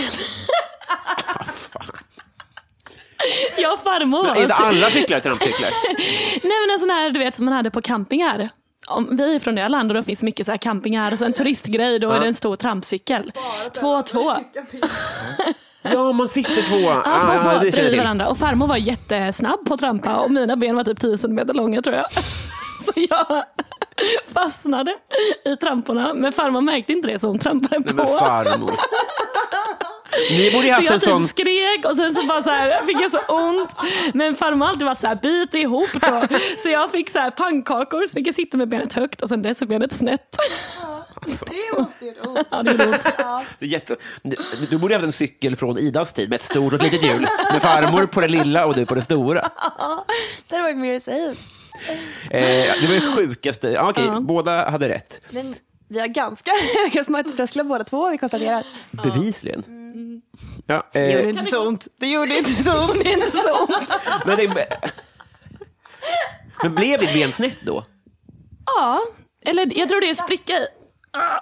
[SPEAKER 3] Jag och farmor var
[SPEAKER 2] Är inte
[SPEAKER 3] så-
[SPEAKER 2] alla cyklar trampcyklar?
[SPEAKER 3] Nej men en sån här du vet som man hade på campingar. Om, vi är från Öland och då finns mycket så här campingar och så en turistgrej då är det en stor trampcykel. Två och två.
[SPEAKER 2] Ja, man sitter två. Ja,
[SPEAKER 3] Ja, två och två
[SPEAKER 2] det känner jag
[SPEAKER 3] bredvid
[SPEAKER 2] till.
[SPEAKER 3] varandra. Och farmor var jättesnabb på att trampa och mina ben var typ 10 centimeter långa tror jag. Så jag fastnade i tramporna. Men farmor märkte inte det så hon trampade
[SPEAKER 2] Nej,
[SPEAKER 3] på.
[SPEAKER 2] men farmor. Ni borde ju
[SPEAKER 3] Så
[SPEAKER 2] haft en
[SPEAKER 3] jag
[SPEAKER 2] sån...
[SPEAKER 3] typ skrek och sen så bara så här, fick jag så ont. Men farmor har alltid varit så här, bit ihop då. Så jag fick så här pannkakor, så fick jag sitta med benet högt och sen dess så benet snett.
[SPEAKER 4] Det måste ju
[SPEAKER 3] Ja, det gjorde ont.
[SPEAKER 2] Jätte... Du, du borde ju haft en cykel från Idas tid med ett stort och ett litet hjul. Med farmor på det lilla och du på det stora.
[SPEAKER 4] Det hade varit mer safe.
[SPEAKER 2] Eh, det var det sjukaste. Ja, Okej, båda hade rätt.
[SPEAKER 4] Men vi har ganska höga smärttrösklar båda två har vi konstaterat.
[SPEAKER 2] Bevisligen. Ja,
[SPEAKER 4] Det gjorde
[SPEAKER 2] eh,
[SPEAKER 4] inte så ont. Det gjorde inte så ont. Det är inte så ont.
[SPEAKER 2] men, det... men blev ditt ben snett då?
[SPEAKER 3] Ja, eller jag tror det är spricka i. Ah.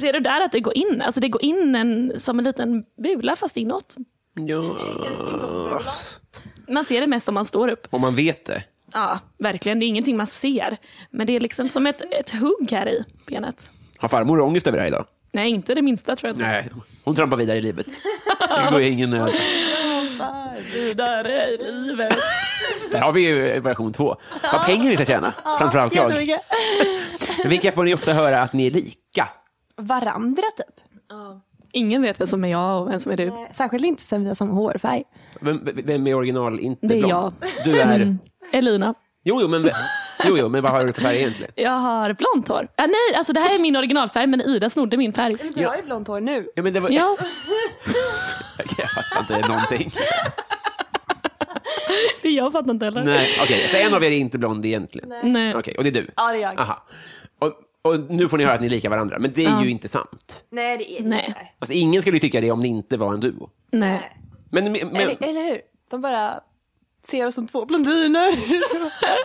[SPEAKER 3] Ser du där att det går in? Alltså det går in en, som en liten bula fast inåt.
[SPEAKER 2] Ja.
[SPEAKER 3] Man ser det mest om man står upp.
[SPEAKER 2] Om man vet det.
[SPEAKER 3] Ja, verkligen. Det är ingenting man ser. Men det är liksom som ett, ett hugg här i benet.
[SPEAKER 2] Har farmor ångest över det här idag?
[SPEAKER 3] Nej, inte det minsta tror jag. inte.
[SPEAKER 2] Nej. Hon trampar vidare i livet. Det går ju ingen nöd.
[SPEAKER 3] Vidare i livet.
[SPEAKER 2] Där har vi ju version två. Vad pengar vi ska tjäna, framförallt jag.
[SPEAKER 4] Jättemycket.
[SPEAKER 2] Vilka får ni ofta höra att ni är lika?
[SPEAKER 4] Varandra typ.
[SPEAKER 3] Ingen vet vem som är jag och vem som är du.
[SPEAKER 4] Särskilt inte sen vi har samma hårfärg.
[SPEAKER 2] Vem, vem är original, inte
[SPEAKER 3] Det är Mm.
[SPEAKER 2] blond? Du är...
[SPEAKER 3] Elina.
[SPEAKER 2] Jo jo, men, jo, jo, men vad har du för färg egentligen?
[SPEAKER 3] Jag har blont hår. Ah, nej, alltså det här är min originalfärg men Ida snodde min färg.
[SPEAKER 4] Du har ju blont hår nu.
[SPEAKER 2] Ja, men det var...
[SPEAKER 3] Ja,
[SPEAKER 2] Jag fattar inte någonting.
[SPEAKER 3] det jag fattar inte heller.
[SPEAKER 2] Nej, okej. Så en av er är inte blond egentligen?
[SPEAKER 3] Nej.
[SPEAKER 2] Okej, och det är du?
[SPEAKER 4] Ja, det är jag.
[SPEAKER 2] Aha. Och, och nu får ni höra att ni är lika varandra, men det är ju inte sant.
[SPEAKER 4] Nej, det är det
[SPEAKER 3] Nej.
[SPEAKER 4] inte.
[SPEAKER 2] Alltså, ingen skulle ju tycka det om ni inte var en duo.
[SPEAKER 3] Nej.
[SPEAKER 2] Men, men, men,
[SPEAKER 4] Eller, eller hur? De bara ser oss som två blondiner.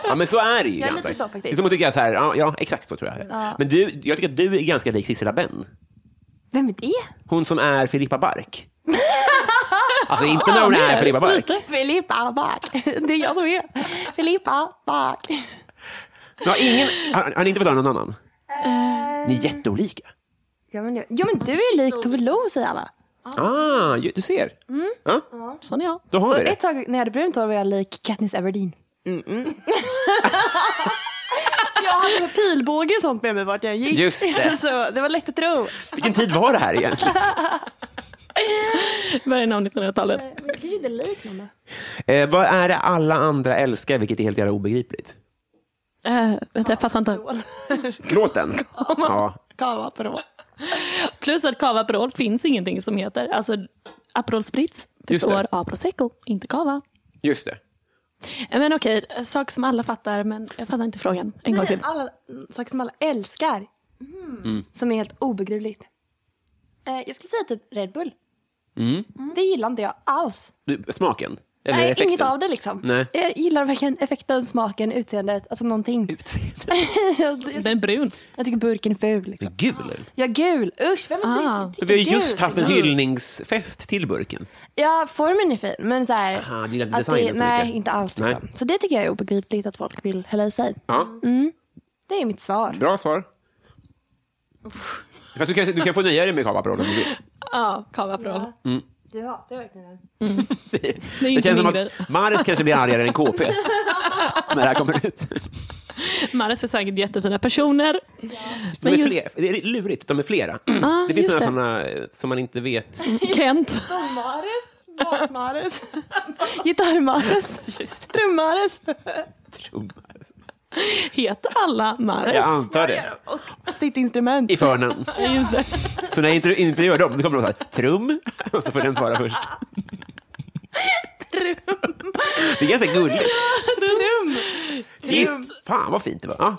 [SPEAKER 2] ja, men så är det ju.
[SPEAKER 4] Jag är
[SPEAKER 2] ganska.
[SPEAKER 4] lite så faktiskt.
[SPEAKER 2] Det är som att tycka så här, ja, ja exakt så tror jag. Men du, jag tycker att du är ganska lik Sissela Benn.
[SPEAKER 4] Vem är det?
[SPEAKER 2] Hon som är Filippa Bark. Alltså inte när hon är Filippa Bark.
[SPEAKER 4] Filippa Bark. Det är jag som är Filippa Bark.
[SPEAKER 2] Ja, ingen, har, har ni inte fått höra någon annan?
[SPEAKER 4] Eh.
[SPEAKER 2] Ni är jätteolika.
[SPEAKER 4] Ja men, ja, men du är ju lik Tove Lo säger alla.
[SPEAKER 2] Ah, ju- du ser. Ja,
[SPEAKER 3] Sån är jag.
[SPEAKER 2] då har
[SPEAKER 4] Mm. Och
[SPEAKER 2] vi det.
[SPEAKER 4] ett tag när jag hade brunt hår var jag lik Katniss Everdeen. jag hade pilbåge och sånt med mig vart jag gick.
[SPEAKER 2] Just det.
[SPEAKER 4] Så det var lätt att tro.
[SPEAKER 2] Vilken tid var det här egentligen?
[SPEAKER 3] Början av 1900-talet.
[SPEAKER 5] Men det kanske inte är likt någon. då.
[SPEAKER 2] Eh, vad är det alla andra älskar, vilket är helt jävla obegripligt?
[SPEAKER 3] Eh, vänta, jag fattar inte.
[SPEAKER 2] Låten? Ja.
[SPEAKER 3] Cava Aperol. Plus att Cava Aperol finns ingenting som heter. Alltså, Aperol Spritz
[SPEAKER 2] Just
[SPEAKER 3] består
[SPEAKER 2] det.
[SPEAKER 3] av prosecco, inte cava.
[SPEAKER 2] Just det.
[SPEAKER 3] Eh, Men okej, eh, sak som alla fattar, men jag fattar inte frågan. En gång till.
[SPEAKER 4] Alla mm, saker som alla älskar.
[SPEAKER 2] Mm.
[SPEAKER 4] Som är helt obegripligt.
[SPEAKER 5] Eh, jag skulle säga typ Red Bull.
[SPEAKER 4] Mm. Det gillar inte jag alls.
[SPEAKER 2] Du, smaken? Mm. Eller
[SPEAKER 4] Nej,
[SPEAKER 2] effekten?
[SPEAKER 4] inget av det liksom.
[SPEAKER 2] Nej.
[SPEAKER 4] Jag gillar verkligen effekten, smaken, utseendet, alltså någonting.
[SPEAKER 2] Utseendet?
[SPEAKER 4] jag,
[SPEAKER 3] Den är brun.
[SPEAKER 4] jag tycker burken är ful. Liksom.
[SPEAKER 2] Gul?
[SPEAKER 4] Ja, gul. Usch, vem
[SPEAKER 3] Ah.
[SPEAKER 4] ah.
[SPEAKER 2] Vi har ju just haft en hyllningsfest till burken.
[SPEAKER 4] Ja, formen är fin, men så här,
[SPEAKER 2] Aha, du gillar inte
[SPEAKER 4] att det-
[SPEAKER 2] designen så
[SPEAKER 4] Nej,
[SPEAKER 2] mycket.
[SPEAKER 4] inte alls.
[SPEAKER 2] Nej.
[SPEAKER 4] Liksom. Så det tycker jag är obegripligt att folk vill hälla i sig.
[SPEAKER 2] Ja,
[SPEAKER 3] Mm.
[SPEAKER 4] Det är mitt svar.
[SPEAKER 2] bra svar. Fast du, kan, du kan få nöja dig med kavaparollen om du vill.
[SPEAKER 3] Ja, Cava Aperol.
[SPEAKER 5] Du hatar verkligen den.
[SPEAKER 3] Det är
[SPEAKER 2] Det
[SPEAKER 3] inte
[SPEAKER 2] känns
[SPEAKER 3] min
[SPEAKER 2] som
[SPEAKER 3] grej.
[SPEAKER 2] att Mares kanske blir argare än KP när det här kommer ut.
[SPEAKER 3] Mares är säkert jättefina personer.
[SPEAKER 2] De är
[SPEAKER 3] Men just- Ah,
[SPEAKER 2] fler, det är lurigt, de är flera. det finns
[SPEAKER 3] just
[SPEAKER 2] några sådana eh, som man inte vet.
[SPEAKER 3] Kent.
[SPEAKER 4] Mares, basmares, gitarrmares, trummares,
[SPEAKER 3] Heter alla Mares?
[SPEAKER 2] Jag antar det.
[SPEAKER 4] sitt instrument.
[SPEAKER 2] I förnamn.
[SPEAKER 3] Just det.
[SPEAKER 2] Så när jag inte, inte gör dem, då kommer de så här, trum, och så får den svara först. Det är ganska gulligt. Trum. Fan vad fint det var. Ja.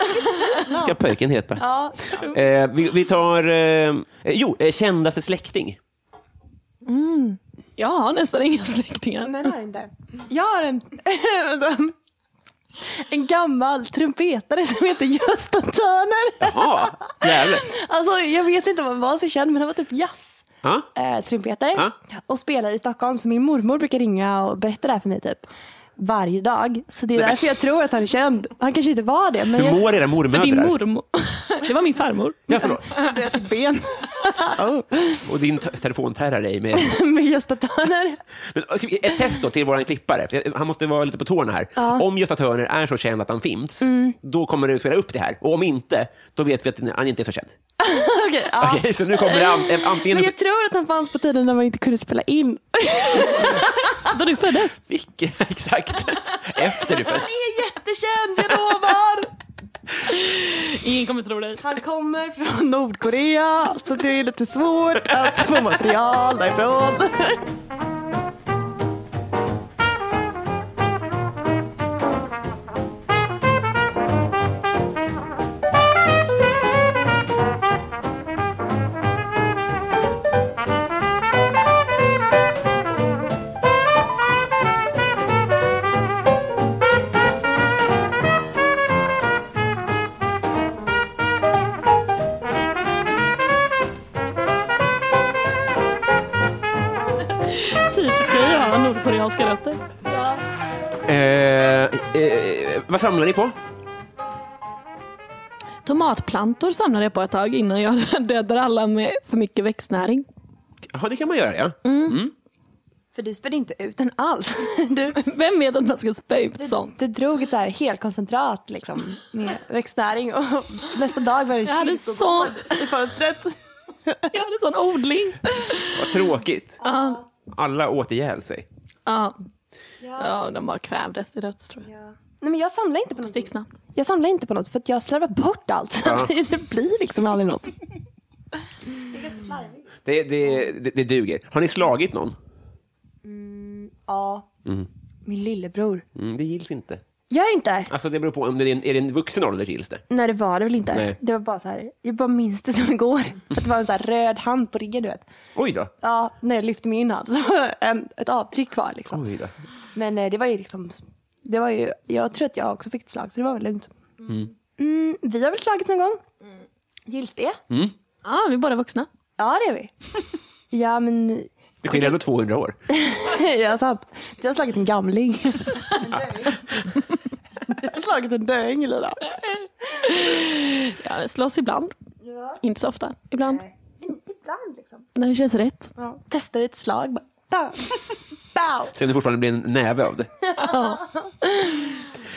[SPEAKER 2] Vad ska pöjken heta? Eh, vi, vi tar, eh, jo, eh, kändaste släkting.
[SPEAKER 3] Jag har nästan inga släktingar.
[SPEAKER 4] Nej, det har jag inte. Jag har en, vänta. en gammal trumpetare som heter Gösta Törner.
[SPEAKER 2] Jaha, jävlar.
[SPEAKER 4] Alltså, jag vet inte om han var så känd, men han var typ jazz.
[SPEAKER 2] Ja.
[SPEAKER 4] eh, trumpetare
[SPEAKER 2] Ja.
[SPEAKER 4] och spelar i Stockholm. Så min mormor brukar ringa och berätta det här för mig typ varje dag. Så det är därför jag tror att han är känd. Han kanske inte var det, men
[SPEAKER 2] Hur
[SPEAKER 4] jag
[SPEAKER 2] mår era mormödrar?
[SPEAKER 3] Din mormor. Det var min farmor.
[SPEAKER 2] Ja, förlåt.
[SPEAKER 4] bröt ben
[SPEAKER 2] Oh. Och din t- telefon terrar dig med...
[SPEAKER 4] med Gösta Törner.
[SPEAKER 2] Men, alltså, ett test då till vår klippare. för Han måste vara lite på tårna här. Om Gösta Törner är så känd att han finns, då kommer du spela upp det här. Och om inte, då vet vi att han inte är så känd.
[SPEAKER 4] Okej, ja.
[SPEAKER 2] Okej, så nu kommer det an- antingen...
[SPEAKER 4] Men jag tror att han fanns på tiden när man inte kunde spela in.
[SPEAKER 3] Då du föddes.
[SPEAKER 2] Vilke- Exakt. Efter du föddes.
[SPEAKER 4] Han är jättekänd, jag lovar!
[SPEAKER 3] Ingen kommer tro dig.
[SPEAKER 4] Han kommer från Nordkorea, så det är lite svårt att få material därifrån.
[SPEAKER 3] Typiskt dig att ha nordkoreanska rötter.
[SPEAKER 2] Eh, eh, vad samlar ni på?
[SPEAKER 3] Tomatplantor samlade jag på ett tag innan jag dödade alla med för mycket växtnäring.
[SPEAKER 2] Ja, det kan man göra, ja.
[SPEAKER 3] Mm.
[SPEAKER 4] För du spelade inte ut den alls. Du,
[SPEAKER 3] Vem vet att man ska spä ut sånt?
[SPEAKER 4] Du drog ett så här helkoncentrat liksom, med växtnäring och nästa dag var det
[SPEAKER 3] Jag hade,
[SPEAKER 4] chips
[SPEAKER 3] så,
[SPEAKER 4] i fönstret.
[SPEAKER 3] jag hade sån odling.
[SPEAKER 2] Vad tråkigt. Alla åt ihjäl sig.
[SPEAKER 3] Ja. ja, de bara kvävdes till döds tror jag.
[SPEAKER 4] Nej, men jag samlar inte på något.
[SPEAKER 3] Sticksnabbt.
[SPEAKER 4] Jag samlar inte på något för att jag slarvar bort allt. Så att det blir liksom aldrig något.
[SPEAKER 2] Det, det, det, det duger. Har ni slagit någon?
[SPEAKER 4] Ja. Min lillebror.
[SPEAKER 2] Mm, det gills inte.
[SPEAKER 4] Gör inte.
[SPEAKER 2] Alltså, det beror på om det är en, är det en vuxen ålder gills det.
[SPEAKER 4] Nej det var det väl inte.
[SPEAKER 2] Nej.
[SPEAKER 4] Det var bara så här. Jag bara minns det som igår. Att det var en så här röd hand på ryggen du vet.
[SPEAKER 2] Oj då.
[SPEAKER 4] Ja, när jag lyfte mig in hand så var det en, ett avtryck kvar liksom.
[SPEAKER 2] Oj då.
[SPEAKER 4] Men eh, det var ju liksom, det var ju, jag tror att jag också fick ett slag så det var väl lugnt. Mm, vi har väl slagit någon gång? Gills det?
[SPEAKER 2] Mm.
[SPEAKER 3] Ja, vi är båda vuxna.
[SPEAKER 4] Ja det är vi. ja men,
[SPEAKER 2] Det skiljer ändå 200 år.
[SPEAKER 4] ja sant. Du har slagit en gamling. du har slagit en döing Lina.
[SPEAKER 3] Ja, slåss ibland. Inte så ofta. Ibland.
[SPEAKER 4] Ibland liksom.
[SPEAKER 3] När det känns rätt.
[SPEAKER 4] Ja, testar ett slag bara. Bam. Bam.
[SPEAKER 2] Sen det fortfarande blir en näve av det.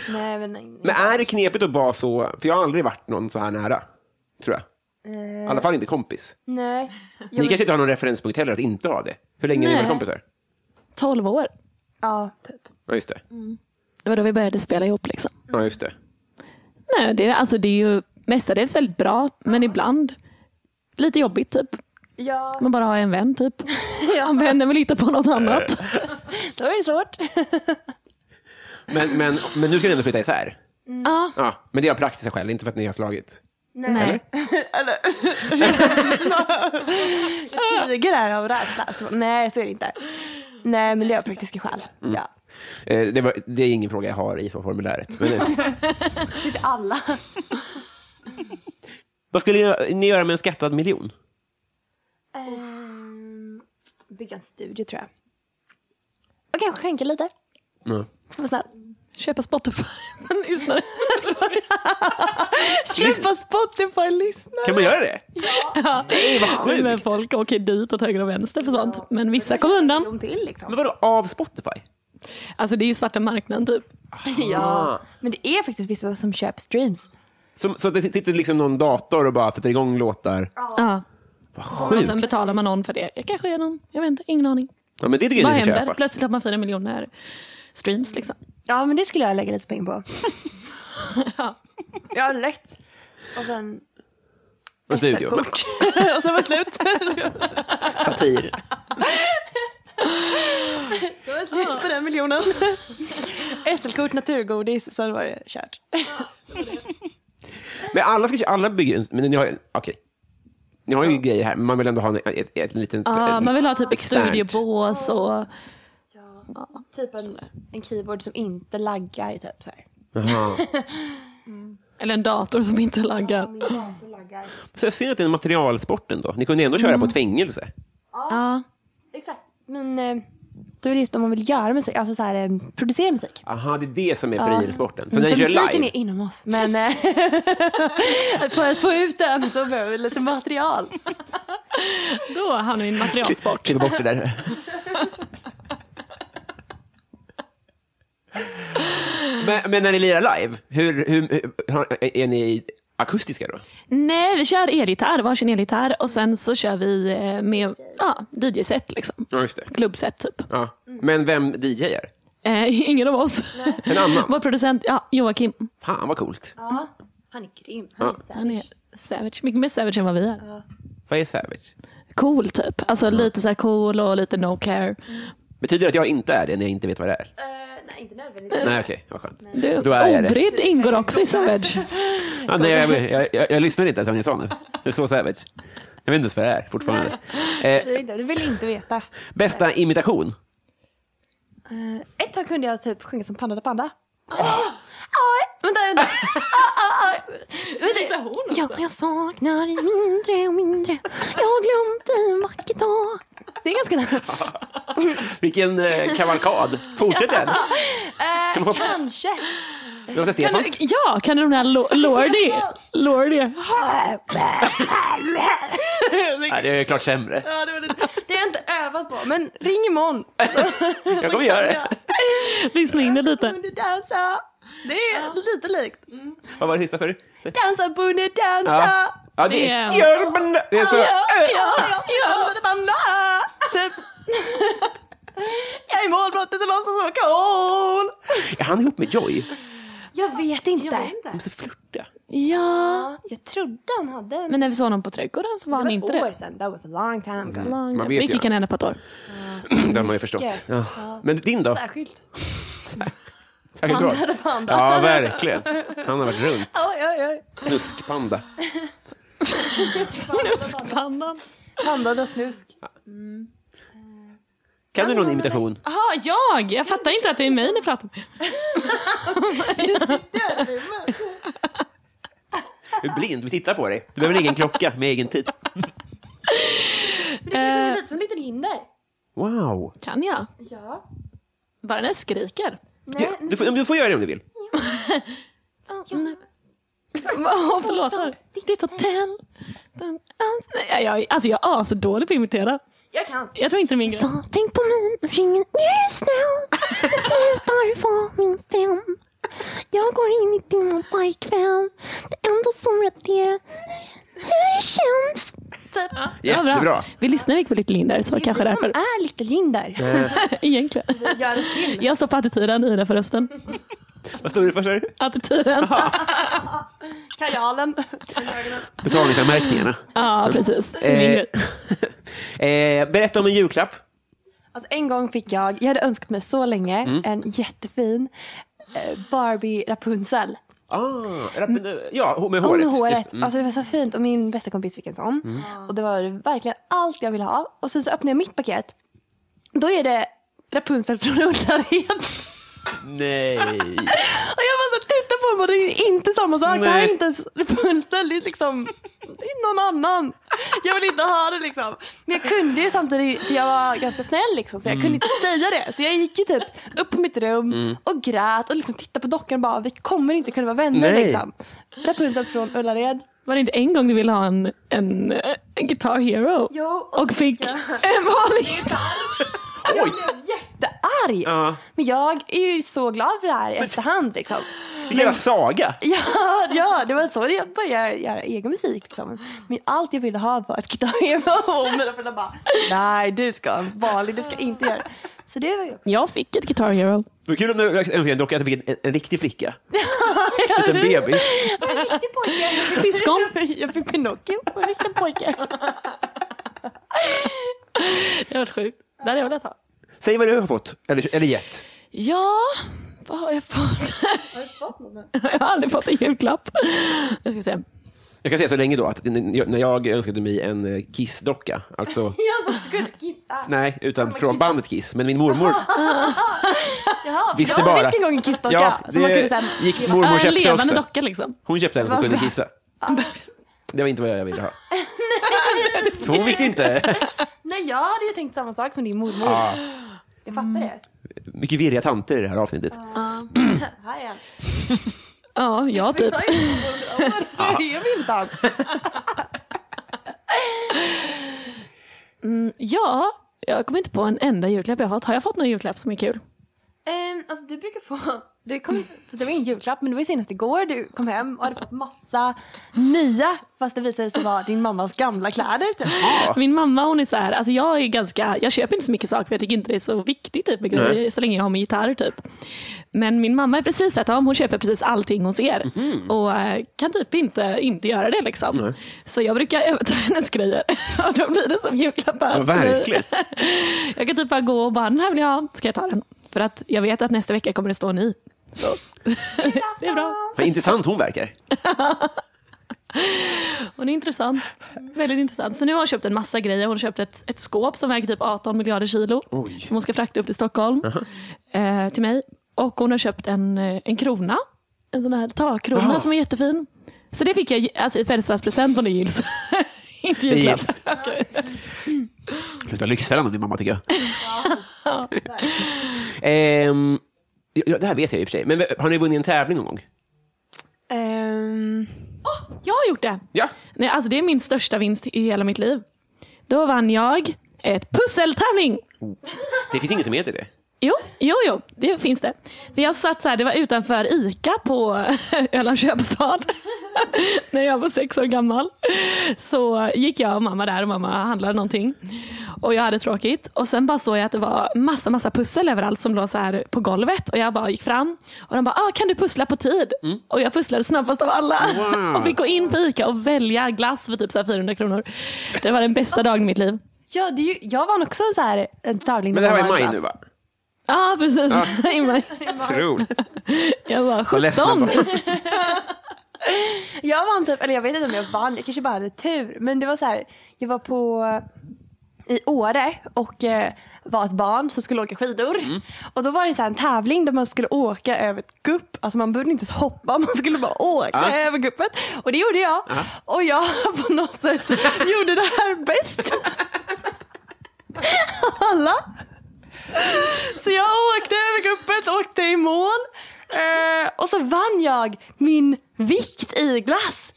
[SPEAKER 4] Nej men nej.
[SPEAKER 2] Men är det knepigt att vara så, för jag har aldrig varit någon så här nära, tror jag. I alla fall inte kompis.
[SPEAKER 4] nej.
[SPEAKER 2] Ni kanske inte har någon referenspunkt heller att inte ha det. Hur länge har ni
[SPEAKER 3] Nej.
[SPEAKER 2] varit kompisar?
[SPEAKER 3] 12 år.
[SPEAKER 4] Ja, typ.
[SPEAKER 2] Ja, just det.
[SPEAKER 3] Mm. Det var då vi började spela ihop. Liksom.
[SPEAKER 2] Ja, just det.
[SPEAKER 3] Nej, det, alltså, det är ju mestadels väldigt bra, men ibland lite jobbigt. typ.
[SPEAKER 4] Ja,
[SPEAKER 3] Man bara har en vän typ. Han vänder vill hitta på något annat.
[SPEAKER 2] Eh.
[SPEAKER 4] då är det svårt.
[SPEAKER 2] Men, men, men nu ska ni ändå flytta isär?
[SPEAKER 3] Ja.
[SPEAKER 2] Ja, men det är av praktiska skäl, inte för att ni har slagit.
[SPEAKER 3] Nej.
[SPEAKER 4] Tiger är av rädsla. Ska man- Nej, så är det inte. Nej, men det är av praktiska skäl.
[SPEAKER 2] Mm.
[SPEAKER 4] Ja.
[SPEAKER 2] Eh, Det, var, det är ingen fråga jag har i för formuläret. Men, eh,
[SPEAKER 4] Inte alla.
[SPEAKER 2] vad skulle ni göra med en skattad miljon?
[SPEAKER 4] Ehm, Bygga en studio tror jag. Och kanske skänka lite.
[SPEAKER 2] Ja.
[SPEAKER 4] Vad snäll.
[SPEAKER 3] Köpa Spotify. Lyssnare. Köpa Spotify-lyssnare.
[SPEAKER 2] Kan man göra det? Nej, vad sjukt!
[SPEAKER 3] Men folk åker dit åt höger och vänster för sånt. Men vissa kommer undan.
[SPEAKER 4] De till
[SPEAKER 2] Men
[SPEAKER 4] liksom.
[SPEAKER 2] vadå, av Spotify?
[SPEAKER 3] Alltså det är ju svarta marknaden typ.
[SPEAKER 4] Ja. Men det är faktiskt vissa som köper streams.
[SPEAKER 2] Som, så att det sitter liksom någon dator och bara sätter igång låtar?
[SPEAKER 3] Ja.
[SPEAKER 2] Vad
[SPEAKER 3] Och
[SPEAKER 2] sjukt!
[SPEAKER 3] sen betalar man någon för det. Jag kanske är någon, jag vet inte, ingen aning.
[SPEAKER 2] Ja, men det tycker jag
[SPEAKER 3] Vad
[SPEAKER 2] ni ska
[SPEAKER 3] händer?
[SPEAKER 2] köpa.
[SPEAKER 3] Plötsligt har man fyra miljoner streams liksom.
[SPEAKER 4] Ja, men det skulle jag lägga lite pengar på. ja, lätt. Och sen...
[SPEAKER 2] En studio.
[SPEAKER 4] Kort. och sen var det slut.
[SPEAKER 2] Satir.
[SPEAKER 4] Det var slut på den miljonen. SL-kort, naturgodis, sen var det kört.
[SPEAKER 2] Men alla, ska, kö- alla bygger en... Men ni har, okej. Ni har ju grejer här, men man vill ändå ha en, ett, ett litet...
[SPEAKER 3] Ja, man vill ha typ ett
[SPEAKER 2] externt.
[SPEAKER 3] studiobås och
[SPEAKER 4] Typ en, en keyboard som inte laggar. Typ, så här.
[SPEAKER 2] Jaha.
[SPEAKER 3] eller en dator som inte laggar.
[SPEAKER 4] laggar.
[SPEAKER 2] Så jag ser att det är materialsporten då. Ni kunde ändå
[SPEAKER 3] Mm.
[SPEAKER 2] köra på ett fängelse.
[SPEAKER 3] Ja.
[SPEAKER 4] Exakt. Men eh, det är väl just om man vill göra musik, alltså så här, eh, producera musik.
[SPEAKER 2] Aha, det är det som är prylsporten. Så när
[SPEAKER 4] Mm,
[SPEAKER 2] ni
[SPEAKER 4] för
[SPEAKER 2] kör
[SPEAKER 4] musiken
[SPEAKER 2] live,
[SPEAKER 4] är inom oss, men eh, för att få ut den så behöver vi lite material.
[SPEAKER 3] Då hamnar vi i en materialsport.
[SPEAKER 2] klipper bort det där. men, men när ni lirar live, hur, hur, hur, har- är ni akustiska då?
[SPEAKER 3] Nej, vi kör elgitarr, varsin elgitarr och sen så kör vi eh, med ja, DJ-set, liksom.
[SPEAKER 2] Ja, just det.
[SPEAKER 3] klubbset typ.
[SPEAKER 2] Ja. Men vem DJar?
[SPEAKER 3] Eh, ingen av oss.
[SPEAKER 2] En annan?
[SPEAKER 3] Vår producent ja, Joakim,
[SPEAKER 2] Fan vad coolt.
[SPEAKER 4] Han är grym. Han är
[SPEAKER 3] han är savage. Mycket mer savage än vad vi är.
[SPEAKER 2] Vad är savage?
[SPEAKER 3] Cool typ. Alltså lite så här cool och lite no care.
[SPEAKER 2] Betyder det att jag inte är det när jag inte vet vad det är?
[SPEAKER 4] Eh, nej, inte nödvändigtvis.
[SPEAKER 2] Nej, okej. vad skönt.
[SPEAKER 3] Du,
[SPEAKER 2] Då är jag det.
[SPEAKER 3] obrydd ingår också i savage.
[SPEAKER 2] Ja, nej, jag, jag, jag, jag lyssnar inte ens vad ni sa nu. Det är så savage. Jag vet inte ens vad det är fortfarande. Eh,
[SPEAKER 4] Du vill inte veta.
[SPEAKER 2] bästa imitation?
[SPEAKER 4] Eh, ett tag kunde jag typ sjunga som Panda da Panda. Aj, vänta, vänta. Ah, ah, ah.
[SPEAKER 3] Visar hon också?
[SPEAKER 4] Ja, jag saknar dig mindre och mindre. Jag har glömt dig en vacker dag. Det är ganska nära.
[SPEAKER 2] Vilken eh, kavalkad. Fortsätt den. Kan man få-
[SPEAKER 4] Eh, Kanske.
[SPEAKER 2] Vi låter
[SPEAKER 3] Kan
[SPEAKER 2] Stefans.
[SPEAKER 3] du, ja, kan du de där lo- Lordi? Lordi.
[SPEAKER 2] Nej, det är klart sämre.
[SPEAKER 4] Ja, det, var det. det har jag inte övat på, men ring imorgon.
[SPEAKER 2] Jag kommer göra det.
[SPEAKER 3] Lyssna in det lite.
[SPEAKER 4] Bonde dansa. Det är lite likt.
[SPEAKER 2] Vad var det sista? sa du?
[SPEAKER 4] Dansa, bonde, dansa.
[SPEAKER 2] Ja. ja, det är...
[SPEAKER 3] Det-
[SPEAKER 2] Gör man- Det är så...
[SPEAKER 4] Ja, ja, ja, ja. Banda, typ. Jag är målbrottet och låtsas vara cool.
[SPEAKER 2] Är han ihop med Joy?
[SPEAKER 4] Jag vet inte.
[SPEAKER 2] De måste flirta.
[SPEAKER 3] Ja,
[SPEAKER 4] Ja, Jag trodde han hade en.
[SPEAKER 3] men när vi såg honom på trädgården så var han inte
[SPEAKER 4] det Mm. var ett år
[SPEAKER 3] det.
[SPEAKER 4] sedan. That was a long time ago.
[SPEAKER 3] Lång-
[SPEAKER 2] Man vet ju.
[SPEAKER 3] Mycket kan hända på ett år.
[SPEAKER 2] Det har man ju förstått. Ja. Men din då?
[SPEAKER 4] Särskilt.
[SPEAKER 2] Särskilt bra.
[SPEAKER 4] Panda, panda.
[SPEAKER 2] Ja, verkligen. Han har varit runt.
[SPEAKER 4] Oj, oj, oj.
[SPEAKER 2] Snuskpanda.
[SPEAKER 3] Snuskpannan.
[SPEAKER 4] Panda och snusk.
[SPEAKER 2] Kan du någon imitation?
[SPEAKER 3] Jaha, jag! Jag fattar inte att det är mig ni pratar med.
[SPEAKER 2] Du är blind, vi tittar på dig. Du behöver en egen klocka med egen tid.
[SPEAKER 4] Det är lite som en liten hinder.
[SPEAKER 2] Wow.
[SPEAKER 3] Eh, Kan jag?
[SPEAKER 4] Ja.
[SPEAKER 3] Bara när jag skriker.
[SPEAKER 2] Ja, Du får, du får göra det om du vill.
[SPEAKER 3] Åh, förlåt. Ditt hotell. Den- Nej, jag- Alltså jag är så dålig på att imitera.
[SPEAKER 4] Jag kan.
[SPEAKER 3] Jag tror inte det är min grej.
[SPEAKER 6] Så tänk på min ring just now. Slutar vara min vän. Jag går in i din varje kväll. Det enda som raderar hur det känns.
[SPEAKER 4] typ.
[SPEAKER 3] Ja, bra.
[SPEAKER 2] Jättebra.
[SPEAKER 3] Vi lyssnar mycket på Little Linder, så kanske därför.
[SPEAKER 4] är lite Linder.
[SPEAKER 3] Egentligen.
[SPEAKER 5] Gör en film.
[SPEAKER 3] Jag står på attityden, Ida för rösten.
[SPEAKER 2] Vad stod det för sig?
[SPEAKER 3] Attityden.
[SPEAKER 5] Kajalen.
[SPEAKER 2] Betalningsanmärkningarna.
[SPEAKER 3] Ja, precis. Min
[SPEAKER 2] Eh,
[SPEAKER 3] grej.
[SPEAKER 2] eh, berätta om en julklapp.
[SPEAKER 4] Alltså, en gång fick jag, jag hade önskat mig så länge, en jättefin eh, Barbie Rapunzel.
[SPEAKER 2] Ah, rapp- ja, hår- med
[SPEAKER 4] Hon
[SPEAKER 2] håret.
[SPEAKER 4] med
[SPEAKER 2] Just,
[SPEAKER 4] håret.
[SPEAKER 2] mm.
[SPEAKER 4] Alltså det var så fint och min bästa kompis fick en sån. Och det var verkligen allt jag ville ha. Och sen så öppnade jag mitt paket. Då är det Rapunzel från Ullared.
[SPEAKER 2] Mm. Nej.
[SPEAKER 4] Och jag bara så tittar på honom och det är inte samma sak. Det här
[SPEAKER 2] Nej.
[SPEAKER 4] är inte ens Rapunzel. Det är liksom det är någon annan. Jag vill inte ha det liksom. Men jag kunde ju samtidigt, för jag var ganska snäll liksom. Så jag
[SPEAKER 2] Mm.
[SPEAKER 4] kunde inte säga det. Så jag gick ju typ upp på mitt rum och grät och liksom tittade på dockan och bara vi kommer inte kunna vara vänner
[SPEAKER 2] Nej.
[SPEAKER 4] liksom. Rapunzel från Ullared.
[SPEAKER 3] Var det inte en gång du ville ha en, en, eh, en Guitar Hero?
[SPEAKER 4] Jo, och
[SPEAKER 3] Och fick en vanlig gitarr.
[SPEAKER 2] Oj.
[SPEAKER 4] jättearg.
[SPEAKER 2] Ja.
[SPEAKER 4] Men jag är ju så glad för det här i efterhand. Liksom.
[SPEAKER 2] Vilken jävla saga.
[SPEAKER 4] Ja, ja, det var så jag började göra egen musik. Liksom. Men allt jag ville ha var ett gitarrhero. Och Mina föräldrar bara, nej du ska ha en vanlig, du ska inte göra det." Så det var ju också.
[SPEAKER 3] Jag fick ett Guitar Hero.
[SPEAKER 2] Det var kul om du önskade dock att du fick en, en riktig flicka. en liten bebis.
[SPEAKER 4] En riktig pojke.
[SPEAKER 3] Syskon.
[SPEAKER 4] Jag fick Pinocchio och en riktig pojke.
[SPEAKER 3] Det var sjukt. Det hade jag velat ha.
[SPEAKER 2] Säg vad du har fått, eller, eller gett.
[SPEAKER 3] Ja, vad har jag fått? jag har aldrig fått en julklapp. Jag ska se.
[SPEAKER 2] Jag kan säga så länge då att när jag önskade mig en eh, Kiss-docka, alltså,
[SPEAKER 4] Jag som skulle kissa.
[SPEAKER 2] nej, utan från bandet Kiss, men min mormor
[SPEAKER 4] Jaha,
[SPEAKER 2] Visste
[SPEAKER 4] jag
[SPEAKER 2] bara.
[SPEAKER 4] fick en gång en kissdocka.
[SPEAKER 2] Ja,
[SPEAKER 4] som man kunde
[SPEAKER 2] det
[SPEAKER 4] sen,
[SPEAKER 2] gick mormor och
[SPEAKER 3] Äh,
[SPEAKER 2] köpte
[SPEAKER 3] levande
[SPEAKER 2] också.
[SPEAKER 3] docka liksom.
[SPEAKER 2] Hon köpte en som kunde kissa. Det var inte vad jag ville ha. För hon visste inte.
[SPEAKER 4] nej, jag hade ju tänkt samma sak som din mormor.
[SPEAKER 2] Ja,
[SPEAKER 4] Jag fattar det.
[SPEAKER 2] mycket virriga tanter i det här avsnittet. Mm.
[SPEAKER 4] Här är han.
[SPEAKER 3] Ja, jag typ.
[SPEAKER 4] Ja. Det är inte alls.
[SPEAKER 3] Ja, jag kommer inte på en enda julklapp jag har fått. Har jag fått någon julklapp som är kul?
[SPEAKER 4] Ehm, alltså du brukar få, det, kom, för det var ingen julklapp men det var ju senast igår du kom hem och hade fått massa nya fast det visade sig vara din mammas gamla kläder. Typ.
[SPEAKER 3] Min mamma hon är så här, alltså jag är ganska, jag köper inte så mycket saker för jag tycker inte det är så viktigt typ med grejer så länge jag har min gitarr typ. Men min mamma är precis tvärtom, hon köper precis allting hon ser
[SPEAKER 2] Mhm.
[SPEAKER 3] och eh, kan typ inte, inte göra det liksom. Så jag brukar överta hennes grejer och då blir det som julklappar.
[SPEAKER 2] Ja, verkligen.
[SPEAKER 3] Jag kan typ bara gå och bara, den här vill jag ha, ska jag ta den? För att jag vet att nästa vecka kommer det stå en ny. Så. det är bra.
[SPEAKER 2] Vad intressant hon verkar.
[SPEAKER 3] Hon är intressant. Väldigt intressant. Så nu har hon köpt en massa grejer. Hon har köpt ett, ett skåp som väger typ 18 miljarder kilo. Som hon ska frakta upp till Stockholm. eh, till mig. Och hon har köpt en, eh, en krona. En sån här takkrona
[SPEAKER 2] Jaha.
[SPEAKER 3] som är jättefin. Så det fick jag ju- alltså, i födelsedagspresent om det gills. Inte julklapp.
[SPEAKER 2] gills. Sluta Lyxfällan om din mamma, tycker jag. Ehm, ja, det här vet jag i och för sig, men har ni vunnit en tävling någon gång?
[SPEAKER 4] Ehm,
[SPEAKER 3] Jag har gjort det.
[SPEAKER 2] Ja.
[SPEAKER 3] Nej, alltså, det är min största vinst i hela mitt liv. Då vann jag ett pusseltävling.
[SPEAKER 2] Det finns ingen som heter det.
[SPEAKER 3] Jo, jo, jo, det finns det. För Jag satt så här, det var utanför ICA på Ölands köpstad när jag var sex år gammal. Så gick jag och mamma där och mamma handlade någonting. Och jag hade tråkigt. Och sen bara såg jag att det var massa, massa pussel överallt som låg så här på golvet. Och jag bara gick fram och de bara, ah, kan du pussla på tid? Och jag pusslade snabbast av alla.
[SPEAKER 2] Wow.
[SPEAKER 3] Och fick gå in på ICA och välja glass för typ så här 400 kronor. Det var den bästa dagen i mitt liv.
[SPEAKER 4] ja, det är ju, jag vann också en, så här, en tävling.
[SPEAKER 2] Men det här
[SPEAKER 4] där
[SPEAKER 2] var i
[SPEAKER 4] man
[SPEAKER 2] maj
[SPEAKER 4] bara-
[SPEAKER 2] nu, va?
[SPEAKER 3] Ja, ah, precis. I maj.
[SPEAKER 2] Otroligt.
[SPEAKER 3] Jag var
[SPEAKER 2] Vad ledsna
[SPEAKER 3] 17.
[SPEAKER 2] barn.
[SPEAKER 4] Jag vann typ, eller jag vet inte om jag vann, jag kanske bara hade tur. Men det var så här, jag var på i Åre och eh, var ett barn som skulle åka skidor. Och då var det så här en tävling där man skulle åka över ett gupp. Alltså man behövde inte ens hoppa, man skulle bara åka
[SPEAKER 2] Ah.
[SPEAKER 4] över guppet. Och det gjorde jag. Och jag på något sätt gjorde det här bäst. Alla. Så jag åkte över guppet, åkte i mål. Eh, och så vann jag min vikt i glass.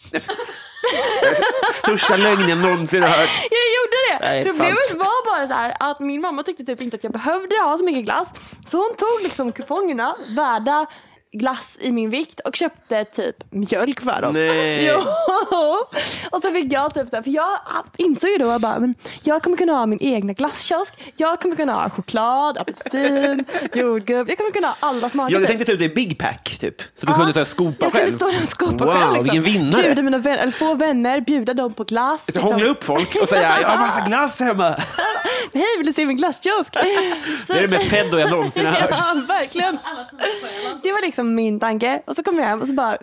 [SPEAKER 2] Största lögnen någonsin har hört.
[SPEAKER 4] Jag gjorde det.
[SPEAKER 2] Nej, det är
[SPEAKER 4] Problemet
[SPEAKER 2] sant.
[SPEAKER 4] var bara så här att min mamma tyckte typ inte att jag behövde ha så mycket glass. Så hon tog liksom kupongerna värda glass i min vikt och köpte typ mjölk för dem.
[SPEAKER 2] Nej.
[SPEAKER 4] Jo. Och så fick jag typ så här, för jag insåg ju då jag bara, men jag kommer kunna ha min egna glasskiosk. Jag kommer kunna ha choklad, apelsin, jordgubb. Jag kommer kunna ha alla smaker.
[SPEAKER 2] Ja, du
[SPEAKER 4] typ.
[SPEAKER 2] tänkte ta ut det i Big Pack, typ. Så du
[SPEAKER 4] Ja,
[SPEAKER 2] kunde ta skopa
[SPEAKER 4] jag
[SPEAKER 2] själv.
[SPEAKER 4] kunde stå där och skopa
[SPEAKER 2] wow,
[SPEAKER 4] själv. Liksom.
[SPEAKER 2] vilken vinnare.
[SPEAKER 4] Bjuda mina vänner, eller få vänner, bjuda dem på glass. liksom.
[SPEAKER 2] Jag hångla upp folk och säga jag har massa glass hemma.
[SPEAKER 4] Hej, vill du se min glasskiosk? Så-
[SPEAKER 2] Det är det mest pedo jag någonsin har hört.
[SPEAKER 4] Ja, verkligen. Det var liksom min tanke. Och så kom jag hem och så bara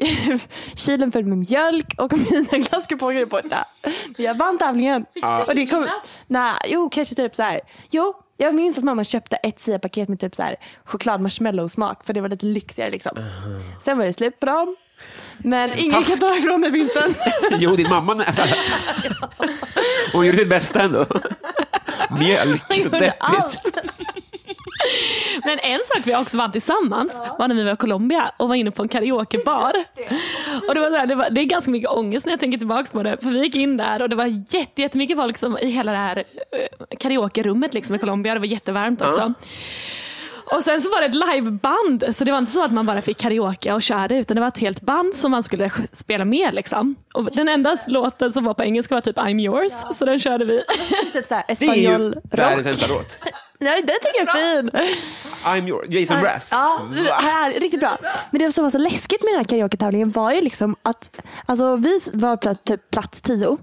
[SPEAKER 4] kylen följd med mjölk och mina glasskuponger är borta. Men jag vann tävlingen. Och det kom, nej, jo, kanske typ så här. Jo, jag minns att mamma köpte ett SIA-paket med typ så här choklad marshmallow-smak för det var lite lyxigare liksom. Sen var det slut på dem. Men ingen kan
[SPEAKER 2] Task.
[SPEAKER 4] ta ifrån mig vinsten.
[SPEAKER 2] Jo, din mamma. Alltså, hon gjorde sitt bästa ändå. Mjölk, så
[SPEAKER 4] gjorde
[SPEAKER 2] deppigt.
[SPEAKER 4] allt.
[SPEAKER 3] Men en sak vi också vann tillsammans var när vi var i Colombia och var inne på en karaokebar. Och det, var så här, det, var, det är ganska mycket ångest när jag tänker tillbaka på det. För vi gick in där och det var jätte, jättemycket folk som, i hela det här eh, karaokerummet liksom, i Colombia. Det var jättevarmt också. Och sen så var det ett liveband, så det var inte så att man bara fick karaoke och körde utan det var ett helt band som man skulle sj- spela med. Liksom. Och den enda låten som var på engelska var typ I'm yours, så den körde vi.
[SPEAKER 4] typ så här,
[SPEAKER 2] Det är ju
[SPEAKER 4] espanjol
[SPEAKER 2] världens
[SPEAKER 4] rock.
[SPEAKER 2] sämsta låt.
[SPEAKER 4] Nej, den tycker jag är fin.
[SPEAKER 2] I'm your Jason Brass.
[SPEAKER 4] Ja, här, riktigt bra. Men det som var så läskigt med den här karaoke-tävlingen var ju liksom att alltså, vi var på typ plats tio.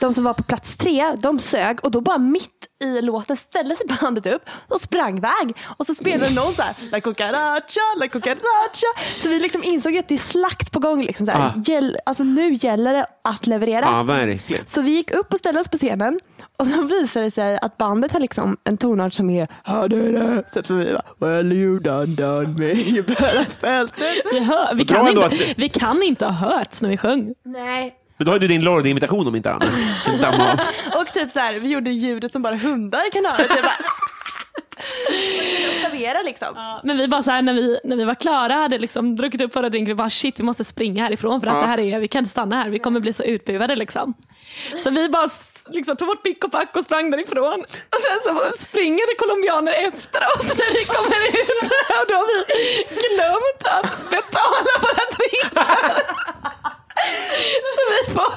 [SPEAKER 4] De som var på plats tre, de sög och då bara mitt i låten ställde sig bandet upp och sprang iväg. Och så spelade någon så här, La cucaracha, La cucaracha. Så vi liksom insåg ju att det är slakt på gång. Liksom, så här.
[SPEAKER 2] Ah.
[SPEAKER 4] Gäll, alltså, nu gäller det att leverera.
[SPEAKER 2] Ja, verkligen.
[SPEAKER 4] Så vi gick upp och ställde oss på scenen och så visade det sig att bandet har liksom en tonart som är "Hade det", typ som vi bara, Well you done done me, you better felt it.
[SPEAKER 3] Vi, hör, vi,
[SPEAKER 2] Bra
[SPEAKER 3] kan
[SPEAKER 2] ändå
[SPEAKER 3] inte,
[SPEAKER 2] att-
[SPEAKER 3] vi kan inte ha hörts när vi sjöng.
[SPEAKER 5] Nej.
[SPEAKER 2] Men då har du din Lorde-imitation om inte annat. Din damma av.
[SPEAKER 4] Och typ så här, vi gjorde ljudet som bara hundar kan höra. Typ bara, Oktavera liksom.
[SPEAKER 3] Men vi bara så här, när, vi, när vi var klara, hade liksom druckit upp våra drinkar, vi bara shit vi måste springa härifrån för att det här är, vi kan inte stanna här, vi kommer bli så utbuade. Liksom. Så vi bara s- liksom, tog vårt pick och pack och sprang därifrån. Och sen så springer det colombianer efter oss när vi kommer ut och då har vi glömt att betala våra drinkar. Så vi får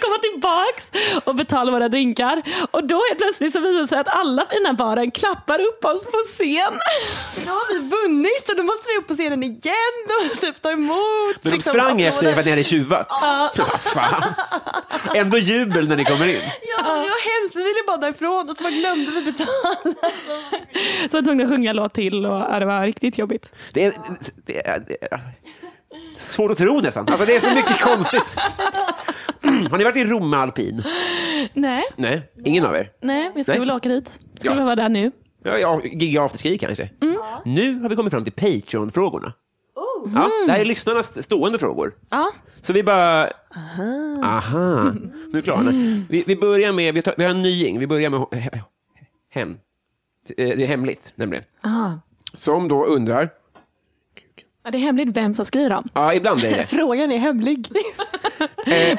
[SPEAKER 3] komma tillbaks och betala våra drinkar. Och då helt plötsligt så visar det sig att alla i den här baren klappar upp oss på scen.
[SPEAKER 4] Då har vi vunnit och då måste vi upp på scenen igen och typ ta emot.
[SPEAKER 2] Men de
[SPEAKER 4] liksom,
[SPEAKER 2] sprang
[SPEAKER 4] applåder.
[SPEAKER 2] efter er för att ni hade tjuvat.
[SPEAKER 3] Ja.
[SPEAKER 2] Vad Fan. Ändå jubel när ni kommer in.
[SPEAKER 4] Ja, det var hemskt. Vi ville bara därifrån och så bara glömde vi betala.
[SPEAKER 3] Så jag var tvungen att sjunga en låt till och ja, det var riktigt jobbigt.
[SPEAKER 2] Det är, det är, det är svårt att tro nästan. Alltså, det är så mycket konstigt. Har ni varit i Rom med alpin?
[SPEAKER 3] Nej,
[SPEAKER 2] Nej, ingen av er?
[SPEAKER 3] nej, vi ska
[SPEAKER 2] Nej.
[SPEAKER 3] väl åka dit. Ska
[SPEAKER 2] Ja.
[SPEAKER 3] vi vara där nu?
[SPEAKER 2] Ja, ja, gigga afterski kanske. Nu har vi kommit fram till Patreon-frågorna.
[SPEAKER 4] Oh.
[SPEAKER 2] Ja,
[SPEAKER 4] Mm.
[SPEAKER 2] det här är lyssnarnas stående frågor.
[SPEAKER 3] Ja.
[SPEAKER 2] Så vi bara... Aha. Nu klarar ni. Vi, vi börjar med... Vi, tar, vi har en nying. Vi börjar med h- h- hen. Eh, Det är hemligt, nämligen.
[SPEAKER 3] Aha.
[SPEAKER 2] Som då undrar...
[SPEAKER 3] Ja, det är hemligt vem som skriver dem.
[SPEAKER 2] Ja, ibland är det.
[SPEAKER 4] Frågan är hemlig.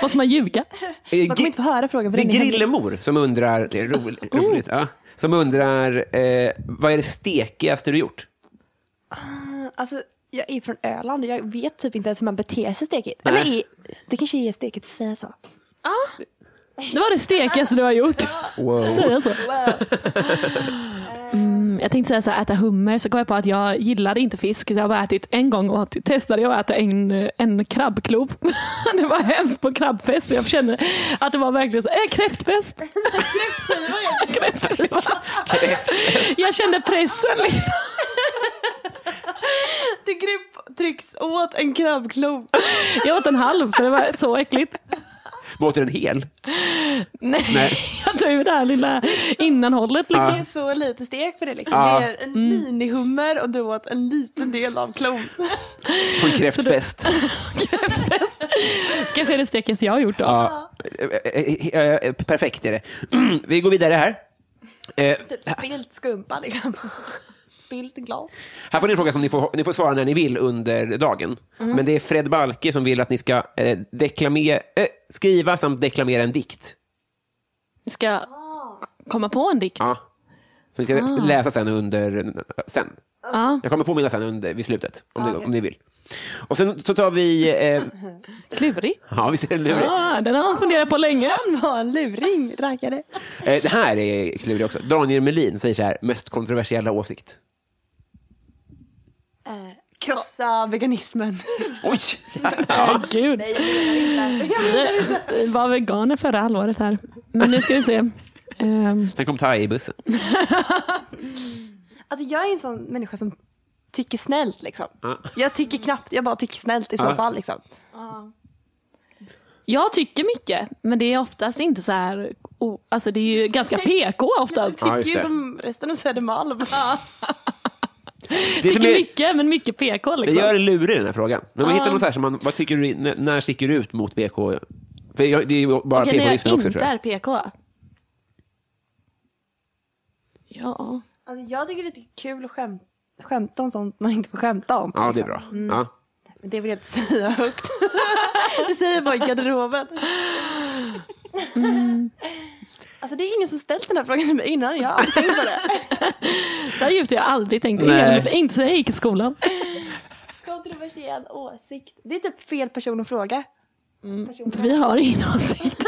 [SPEAKER 3] Måste man ljuga?
[SPEAKER 2] Eh,
[SPEAKER 4] Man kommer inte få höra frågan för
[SPEAKER 2] Det är
[SPEAKER 4] den är hemlig.
[SPEAKER 2] Grillemor som undrar... Det är roligt.
[SPEAKER 4] Oh.
[SPEAKER 2] roligt ja, som undrar... Eh, vad är det stekigaste du gjort?
[SPEAKER 4] Alltså, jag är från Öland och jag vet typ inte ens hur man beter sig stekigt. Eller
[SPEAKER 2] Nej.
[SPEAKER 4] i, det kanske är stekigt att säga så.
[SPEAKER 3] Det var det stekigaste du har gjort.
[SPEAKER 2] Oh. Wow.
[SPEAKER 3] Säga så. Mm, jag tänkte säga så här, äta hummer, så kom jag på att jag gillade inte fisk. Så jag har bara ätit en gång och åt- testade jag att äta en, en krabbklov. det var hemskt på krabbfest. Jag kände att det var verkligen så, äh, kräftfest. kräftskiva. Jag kände pressen liksom.
[SPEAKER 4] Det grip trycks åt en krabbklov.
[SPEAKER 3] Jag åt en halv för det var så äckligt.
[SPEAKER 2] Men åt du den hel?
[SPEAKER 3] Nej,
[SPEAKER 2] Nej.
[SPEAKER 3] jag tog ju det här lilla innanhållet. Liksom.
[SPEAKER 4] Det är så lite stek för det. Liksom.
[SPEAKER 2] Ja.
[SPEAKER 4] Det är en minihummer och du åt en liten del av klon.
[SPEAKER 2] På en kräftfest?
[SPEAKER 3] Kanske är det stekigaste jag har gjort då.
[SPEAKER 2] Ja. Eh, eh, eh, eh, Perfekt är det. Vi går vidare här. Eh,
[SPEAKER 4] Typ spilt skumpa liksom. Spilt glas.
[SPEAKER 2] Här får ni en fråga som ni får, ni får svara när ni vill under dagen. Men det är Fred Balke som vill att ni ska eh, deklamera, eh, skriva samt deklamera en dikt.
[SPEAKER 3] Vi ska komma på en dikt.
[SPEAKER 2] Ah. Ja. Ah, Som ni ska läsa sen under... Sen.
[SPEAKER 3] Ja.
[SPEAKER 2] Jag kommer påminna sen under, vid slutet, om, ni, om ni vill. Och sen så tar vi... Eh,
[SPEAKER 3] Klurig.
[SPEAKER 2] ja, visst är den lurig?
[SPEAKER 3] Ja, Ah, den har man funderat på länge.
[SPEAKER 4] Var en luring, raggare.
[SPEAKER 2] Eh, det här är klurig också. Daniel Melin säger så här, mest kontroversiella åsikt.
[SPEAKER 4] Eh, Krossa veganismen.
[SPEAKER 2] Oj!
[SPEAKER 3] Herregud. Vi var veganer förra halvåret här. Men nu ska vi se. Ehm,
[SPEAKER 2] Sen kom Thai i bussen.
[SPEAKER 4] Liksom. Alltså jag är en sån människa som tycker snällt liksom. Jag tycker knappt, jag bara tycker snällt i så fall liksom.
[SPEAKER 3] Jag tycker mycket, men det är oftast inte så här... o- Alltså det är ju ganska PK oftast.
[SPEAKER 2] Ja,
[SPEAKER 4] Tycker
[SPEAKER 2] just
[SPEAKER 4] ju
[SPEAKER 2] det.
[SPEAKER 4] som resten av Södermalm. Alltså,
[SPEAKER 2] Det, som
[SPEAKER 3] Tycker
[SPEAKER 2] är,
[SPEAKER 3] mycket, men mycket PK
[SPEAKER 2] det
[SPEAKER 3] liksom.
[SPEAKER 2] gör det lurig den här frågan. Men man hittar någon så här, som man, vad tycker du, när, när sticker du ut mot PK? För jag, det är ju bara
[SPEAKER 3] Okej, när jag
[SPEAKER 2] PK-lyssnare också
[SPEAKER 3] inte
[SPEAKER 2] tror jag.
[SPEAKER 3] är PK. Ja.
[SPEAKER 4] Alltså, jag tycker det är lite kul att skäm- skämta om sånt man inte får skämta om.
[SPEAKER 2] Ja, det är bra.
[SPEAKER 3] liksom. Mm.
[SPEAKER 2] Ja.
[SPEAKER 4] Men det vill jag inte säga högt. det säger jag bara i garderoben. Mm. Alltså det är ingen som ställt den här frågan till mig innan. Jag har aldrig tänkt på det.
[SPEAKER 3] Så här djupt har jag aldrig tänkt.
[SPEAKER 2] Nej.
[SPEAKER 3] Hela mitt liv. Inte så jag gick i skolan.
[SPEAKER 4] Kontroversiell åsikt. Det är typ fel person att fråga.
[SPEAKER 3] Vi har ingen åsikt.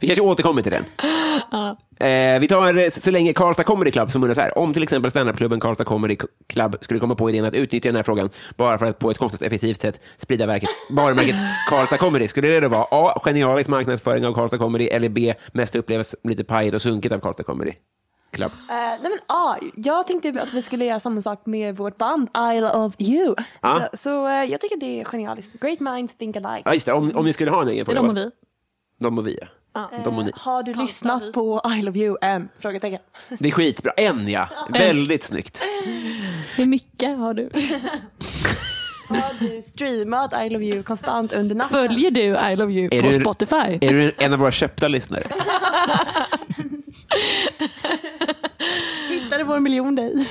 [SPEAKER 2] Vi kanske återkommer till den. Eh, vi tar eh, så länge Karlstad Comedy Club som undrar så här. Om till exempel standupklubben Karlstad Comedy Club skulle komma på idén att utnyttja den här frågan bara för att på ett kostnadseffektivt sätt sprida verket, varumärket Karlstad Comedy. Skulle det då vara A. Genialisk marknadsföring av Karlstad Comedy eller B. Mest upplevs som lite pajigt och sunkigt av Karlstad Comedy Club.
[SPEAKER 4] Eh, nej men ah, jag tänkte att vi skulle göra samma sak med vårt band Isle of You.
[SPEAKER 2] Ja.
[SPEAKER 4] Så, så eh, jag tycker det är genialiskt. Great minds think alike.
[SPEAKER 2] Ah. Ja, just det. Om, om ni skulle ha en egen
[SPEAKER 3] Det är
[SPEAKER 2] fråga.
[SPEAKER 3] de och
[SPEAKER 2] vad-
[SPEAKER 3] vi.
[SPEAKER 2] De och vi, ja. De och ni.
[SPEAKER 4] Eh, Har du lyssnat på Isle of You än? Frågetecken.
[SPEAKER 2] Det är skitbra. En, ja. Väldigt snyggt.
[SPEAKER 3] Hur mycket har du?
[SPEAKER 4] Har du streamat Isle of You konstant under natten?
[SPEAKER 3] Följer du I Love You
[SPEAKER 2] Är
[SPEAKER 3] på
[SPEAKER 2] du-
[SPEAKER 3] Spotify?
[SPEAKER 2] Är du en av våra köpta lyssnare?
[SPEAKER 4] Hittade vår miljon dig.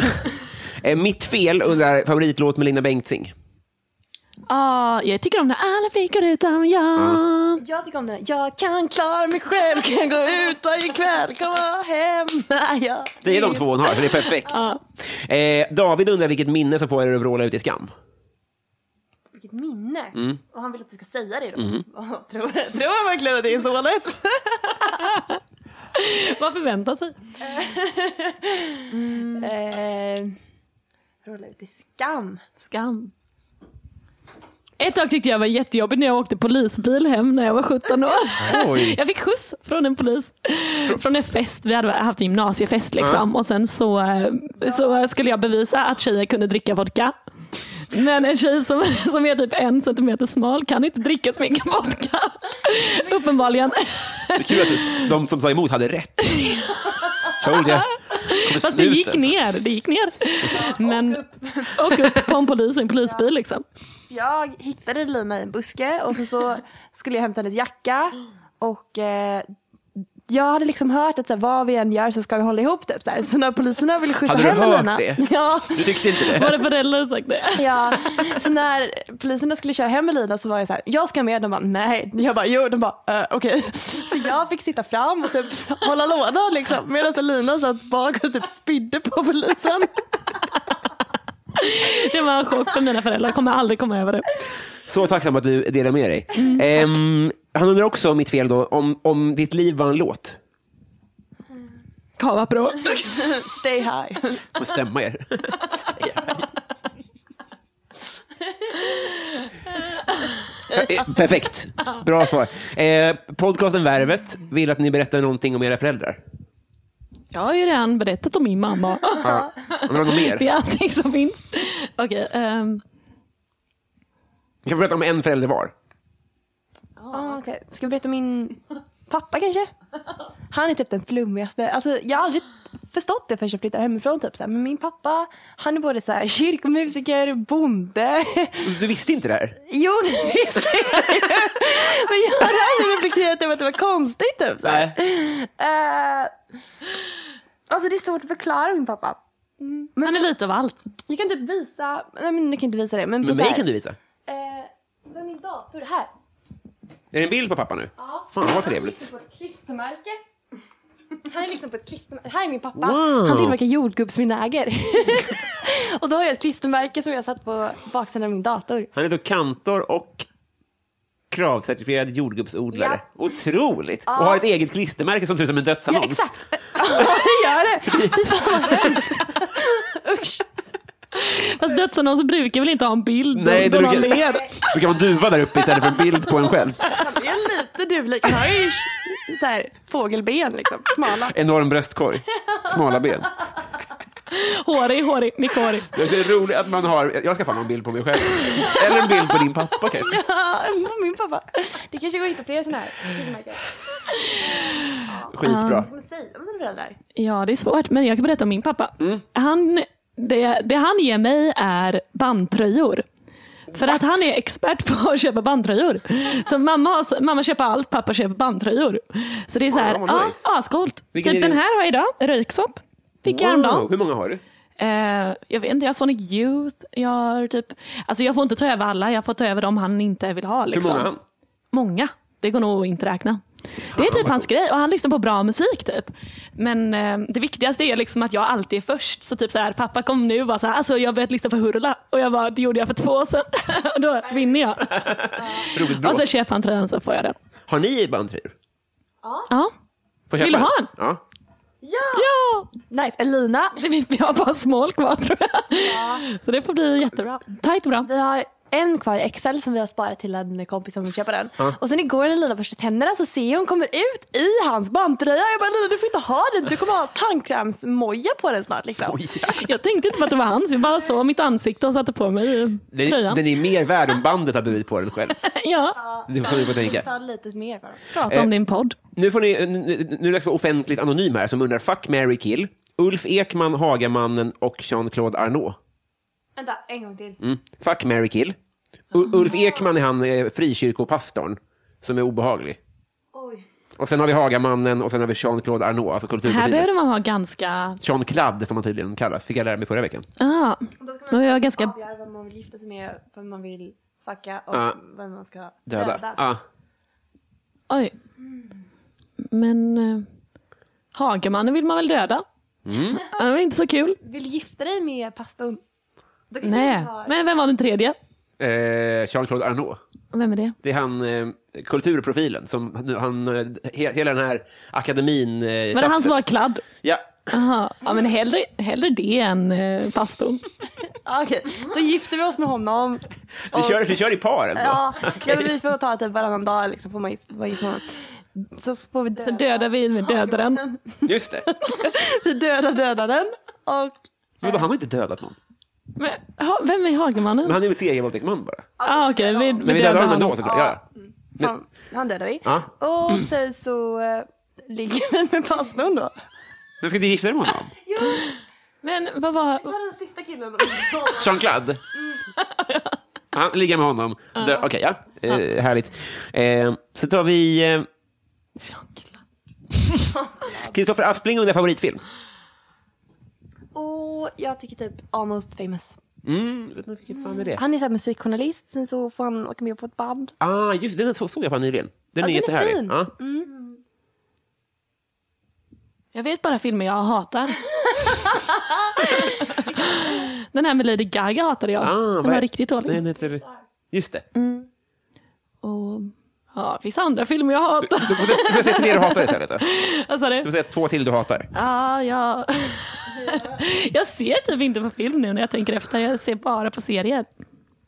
[SPEAKER 2] Eh, Mitt fel undrar favoritlåt med Lina Bengtzing.
[SPEAKER 3] Ah, jag tycker om när alla flickor utom jag.
[SPEAKER 4] Jag tycker om den här. Jag kan klara mig själv, kan gå ut varje kväll, komma hem. Ah, Nej, jag-
[SPEAKER 2] Det är de två hon har, så det är perfekt. Eh, David undrar vilket minne som får er att vråla ut i skam.
[SPEAKER 4] Vilket minne. Och han vill att du ska säga det då. Vad Tror, tror han verkligen att det är så lätt?
[SPEAKER 3] Vad förväntar sig?
[SPEAKER 4] Eh, Rulla ut i skam.
[SPEAKER 3] Skam. Ett tag tyckte jag var jättejobbigt när jag åkte polisbil hem när jag var 17 år.
[SPEAKER 2] Oj.
[SPEAKER 3] Jag fick skjuts från en polis. Från en fest, vi hade haft gymnasiefest liksom. Och sen så, eh, så skulle jag bevisa att tjejer kunde dricka vodka. Men en tjej som, som är typ en centimeter smal kan inte dricka så mycket vodka. Uppenbarligen.
[SPEAKER 2] Det är kul att de som sa emot hade rätt. Told ya. Kommer
[SPEAKER 3] Fast det gick
[SPEAKER 2] snuten.
[SPEAKER 3] ner. Det gick ner. Men, och upp på en polis i en polisbil liksom.
[SPEAKER 4] Så jag hittade Lina i en buske och sen så skulle jag hämta hennes jacka. Och eh, jag hade liksom hört att så här, vad vi än gör så ska vi hålla ihop. Typ, så, här. så när poliserna ville skjutsa
[SPEAKER 2] Hade du
[SPEAKER 4] hem
[SPEAKER 2] hört
[SPEAKER 4] Lina.
[SPEAKER 2] det?
[SPEAKER 4] Ja.
[SPEAKER 2] Du tyckte inte det?
[SPEAKER 3] Våra föräldrar har sagt det.
[SPEAKER 4] Ja, så när poliserna skulle köra hem Elina så var jag så här, jag ska med. De bara, nej. Jag bara, jo. De bara, eh, okej. Så jag fick sitta fram och typ hålla lådan liksom. Medan Elina satt bak och typ spydde på polisen.
[SPEAKER 3] Det var en chock för mina föräldrar. Jag kommer aldrig komma över det.
[SPEAKER 2] Så tacksam att du delar med dig. Ehm, han undrar också, mitt fel då, om, om ditt liv var en låt.
[SPEAKER 3] Kava bra.
[SPEAKER 4] Stay high.
[SPEAKER 2] Får stämma er. Eh, Perfekt. Bra svar. Eh, podcasten Värvet vill att ni berättar någonting om era föräldrar.
[SPEAKER 3] Jag har ju redan berättat om min mamma.
[SPEAKER 2] Ja. Om något mer?
[SPEAKER 3] Det är allting som finns. Okej. ehm,
[SPEAKER 2] Vi kan berätta om en förälder var.
[SPEAKER 4] Oh, okay. Ska vi berätta om min pappa kanske? Han är typ den flummigaste. Alltså, jag har aldrig förstått det förrän jag flyttade hemifrån. Typ, så här. Men min pappa, han är både så här, kyrkomusiker, bonde.
[SPEAKER 2] Du visste inte det här?
[SPEAKER 4] Jo, det visste jag ju. Men jag hade aldrig reflekterat över att det var konstigt. Typ, så här. Eh, alltså det är svårt att förklara min pappa.
[SPEAKER 3] Mm. han är lite av allt.
[SPEAKER 4] Jag kan typ visa, nej men du kan inte visa det. Men,
[SPEAKER 2] Men
[SPEAKER 4] visa
[SPEAKER 2] mig
[SPEAKER 4] här.
[SPEAKER 2] kan du visa.
[SPEAKER 4] Eh, det är min dator här.
[SPEAKER 2] Är det en bild på pappa nu? Ja. Fan vad trevligt.
[SPEAKER 4] på ett klistermärke. Han är liksom på ett klistermärke. Här är min pappa.
[SPEAKER 2] Wow.
[SPEAKER 4] Han tillverkar jordgubbsvinäger. Och då har jag ett klistermärke som jag satt på baksidan av min dator.
[SPEAKER 2] Han är då kantor och kravcertifierad jordgubbsodlare. Otroligt! Och har ett eget klistermärke som ser ut som en dödsannons.
[SPEAKER 4] Ja, exakt. Ja, det gör det. Fy fan vad hemskt. Usch.
[SPEAKER 3] Fast dödsannonser brukar väl inte ha en bild
[SPEAKER 2] Nej,
[SPEAKER 3] då
[SPEAKER 2] det
[SPEAKER 3] man
[SPEAKER 2] brukar-
[SPEAKER 3] ler?
[SPEAKER 2] Det brukar vara en duva där uppe istället för en bild på en själv.
[SPEAKER 4] Det är lite duvlik. Han har ju så här, fågelben liksom. Smala.
[SPEAKER 2] Enorm bröstkorg, smala ben.
[SPEAKER 3] Hårig, hårig, mycket hårig.
[SPEAKER 2] Det är roligt att man har, jag ska fan ha en bild på mig själv. Eller en bild på din pappa kanske.
[SPEAKER 4] Ja, Ah, min pappa. Det kanske går att hitta fler sådana här klistermärken.
[SPEAKER 2] Skitbra.
[SPEAKER 5] Som säger om sina föräldrar.
[SPEAKER 3] Ja, det är svårt. Men jag kan berätta om min pappa.
[SPEAKER 2] Mm.
[SPEAKER 3] Han, det, det han ger mig är bandtröjor. För att han är expert på att köpa bandtröjor. Så mamma, har, s- mamma köper allt, pappa köper bandtröjor. Så det är så här,
[SPEAKER 2] Fan, vad
[SPEAKER 3] ja,
[SPEAKER 2] nice.
[SPEAKER 3] ascoolt.
[SPEAKER 2] Vilken är
[SPEAKER 3] Typ den
[SPEAKER 2] din-
[SPEAKER 3] här har jag idag, röyksopp. Fick jag
[SPEAKER 2] Wow,
[SPEAKER 3] häromdagen.
[SPEAKER 2] hur många har du?
[SPEAKER 3] Eh, jag vet inte, jag har Sonic Youth. Jag har typ, alltså jag får inte ta över alla, jag får ta över dem han inte vill ha.
[SPEAKER 2] Hur
[SPEAKER 3] Liksom.
[SPEAKER 2] många har han?
[SPEAKER 3] Många. Det går nog att inte räkna. Det är typ hans grej och han lyssnar på bra musik typ. Men eh, det viktigaste är liksom att jag alltid är först. Så typ så här, pappa kom nu och bara så här, alltså jag har börjat lyssna på Hurula och jag bara, det gjorde jag för två år sedan. och då vinner jag.
[SPEAKER 2] Roligt bra.
[SPEAKER 3] Och så köper han tröjan så får jag den.
[SPEAKER 2] Har ni bandtröjor?
[SPEAKER 3] Ja.
[SPEAKER 2] Får jag
[SPEAKER 3] Vill
[SPEAKER 2] köpa
[SPEAKER 3] du ha
[SPEAKER 2] en? Ja.
[SPEAKER 3] Ja!
[SPEAKER 4] Nice. Elina.
[SPEAKER 3] Det- vi- Vi har bara small kvar tror jag. Så det får bli jättebra. Tajt och bra.
[SPEAKER 4] Vi har en kvar i Excel som vi har sparat till en kompis som vill köpa den. Och sen igår när Elina borstade tänderna så ser jag hon kommer ut i hans bandtröja. Jag bara Elina du får inte ha den. Du kommer ha tandkrämsmoja på den snart. Liksom.
[SPEAKER 2] Oj,
[SPEAKER 3] Jag tänkte inte på att det var hans. Jag bara såg mitt ansikte och satte på mig
[SPEAKER 2] Den,
[SPEAKER 3] tröjan.
[SPEAKER 2] den är mer värd om bandet har burit på den själv.
[SPEAKER 3] Ja,
[SPEAKER 2] Det får ni få tänka.
[SPEAKER 4] Ta lite mer för dem.
[SPEAKER 3] prata om din podd.
[SPEAKER 2] Nu får ni, nu, nu är det dags för offentligt anonym här som undrar, fuck, Mary kill. Ulf Ekman, Hagamannen och Jean-Claude Arnault.
[SPEAKER 5] Vänta, en gång till.
[SPEAKER 2] Mm. Fuck, Mary kill. U- Ulf Ekman är han eh, frikyrkopastorn som är obehaglig.
[SPEAKER 5] Oj.
[SPEAKER 2] Och sen har vi Hagamannen och sen har vi Jean-Claude Arnault, alltså
[SPEAKER 3] Här
[SPEAKER 2] kulturprofilen.
[SPEAKER 3] behöver man ha ganska...
[SPEAKER 2] Jean-Claude som han tydligen kallas, fick jag lära mig förra veckan.
[SPEAKER 5] Då ska
[SPEAKER 3] Ah, man
[SPEAKER 5] man
[SPEAKER 3] behöver ha ganska...
[SPEAKER 5] avgöra vem man vill gifta sig med, vem man vill fucka och
[SPEAKER 2] Ja.
[SPEAKER 5] vem man ska
[SPEAKER 2] Ah, Döda.
[SPEAKER 5] döda.
[SPEAKER 2] Ah.
[SPEAKER 3] Oj. Men... eh, Hagemannen vill man väl döda?
[SPEAKER 2] Mm.
[SPEAKER 3] Han är inte så kul.
[SPEAKER 4] Vill du gifta dig med pastorn?
[SPEAKER 5] Då kanske
[SPEAKER 3] Nej.
[SPEAKER 5] vi har-
[SPEAKER 3] Men vem var den tredje?
[SPEAKER 2] Eh, Jean-Claude Arnault.
[SPEAKER 3] Vem är det?
[SPEAKER 2] Det är han, eh, kulturprofilen, som nu- han, eh, he, hela den här akademin... Eh,
[SPEAKER 3] Var det han som var kladd?
[SPEAKER 2] Ja.
[SPEAKER 3] Aha. Ja, men hellre, hellre det än eh, pastorn.
[SPEAKER 4] Ja, Ah, Okej, då gifter vi oss med honom.
[SPEAKER 2] Vi kör, vi kör i par ändå.
[SPEAKER 4] Ja, ja, men vi får ta typ varannan dag liksom, får man gif- vara gift med honom. Så får vi
[SPEAKER 3] Så
[SPEAKER 4] döda,
[SPEAKER 3] dödar vi med dödaren.
[SPEAKER 2] Just det.
[SPEAKER 4] vi dödar dödaren. Och
[SPEAKER 2] Men då, han har inte dödat någon.
[SPEAKER 3] Men, ha, vem är Hagemannen?
[SPEAKER 2] Men han är väl serievåldtäktsman bara.
[SPEAKER 3] Ah, Okej, vi,
[SPEAKER 2] Men vi dödar honom ändå såklart. Ja. ja.
[SPEAKER 4] han, han dödar vi.
[SPEAKER 2] Ja.
[SPEAKER 4] Och sen så eh, ligger vi med pastorn då.
[SPEAKER 2] Men ska du gifta dig med honom?
[SPEAKER 3] Men vad var...
[SPEAKER 5] Ta den sista killen.
[SPEAKER 2] Jean-Claude? Ja, ligga med honom. Dö- Okej, ja. Eh, härligt. Eh, så tar vi... eh, Kristoffer Aspling undrar favoritfilm.
[SPEAKER 4] Och jag tycker typ almost famous.
[SPEAKER 2] Mm, vet ni vilket fan är det?
[SPEAKER 4] Han är så här musikjournalist, sen så får han åka med på ett band.
[SPEAKER 2] Ah, just det, den så- såg jag fan nyligen. Den är
[SPEAKER 4] Ja, den är
[SPEAKER 2] jättehärlig.
[SPEAKER 4] fin.
[SPEAKER 2] Ja.
[SPEAKER 3] Jag vet bara filmer jag hatar. Den här med Lady Gaga hatade jag.
[SPEAKER 2] Ah,
[SPEAKER 3] den
[SPEAKER 2] vad-
[SPEAKER 3] var riktigt dålig. Mm.
[SPEAKER 2] Den heter... Just det.
[SPEAKER 3] Och, ja, det finns andra filmer jag hatar.
[SPEAKER 2] Du får- du får säga till det du hatar istället. Då. Du
[SPEAKER 3] Vad sa
[SPEAKER 2] får
[SPEAKER 3] du? Ah,
[SPEAKER 2] säga två till du hatar.
[SPEAKER 3] Ja, jag... jag ser typ inte på film nu när jag tänker efter. Jag ser bara på serier.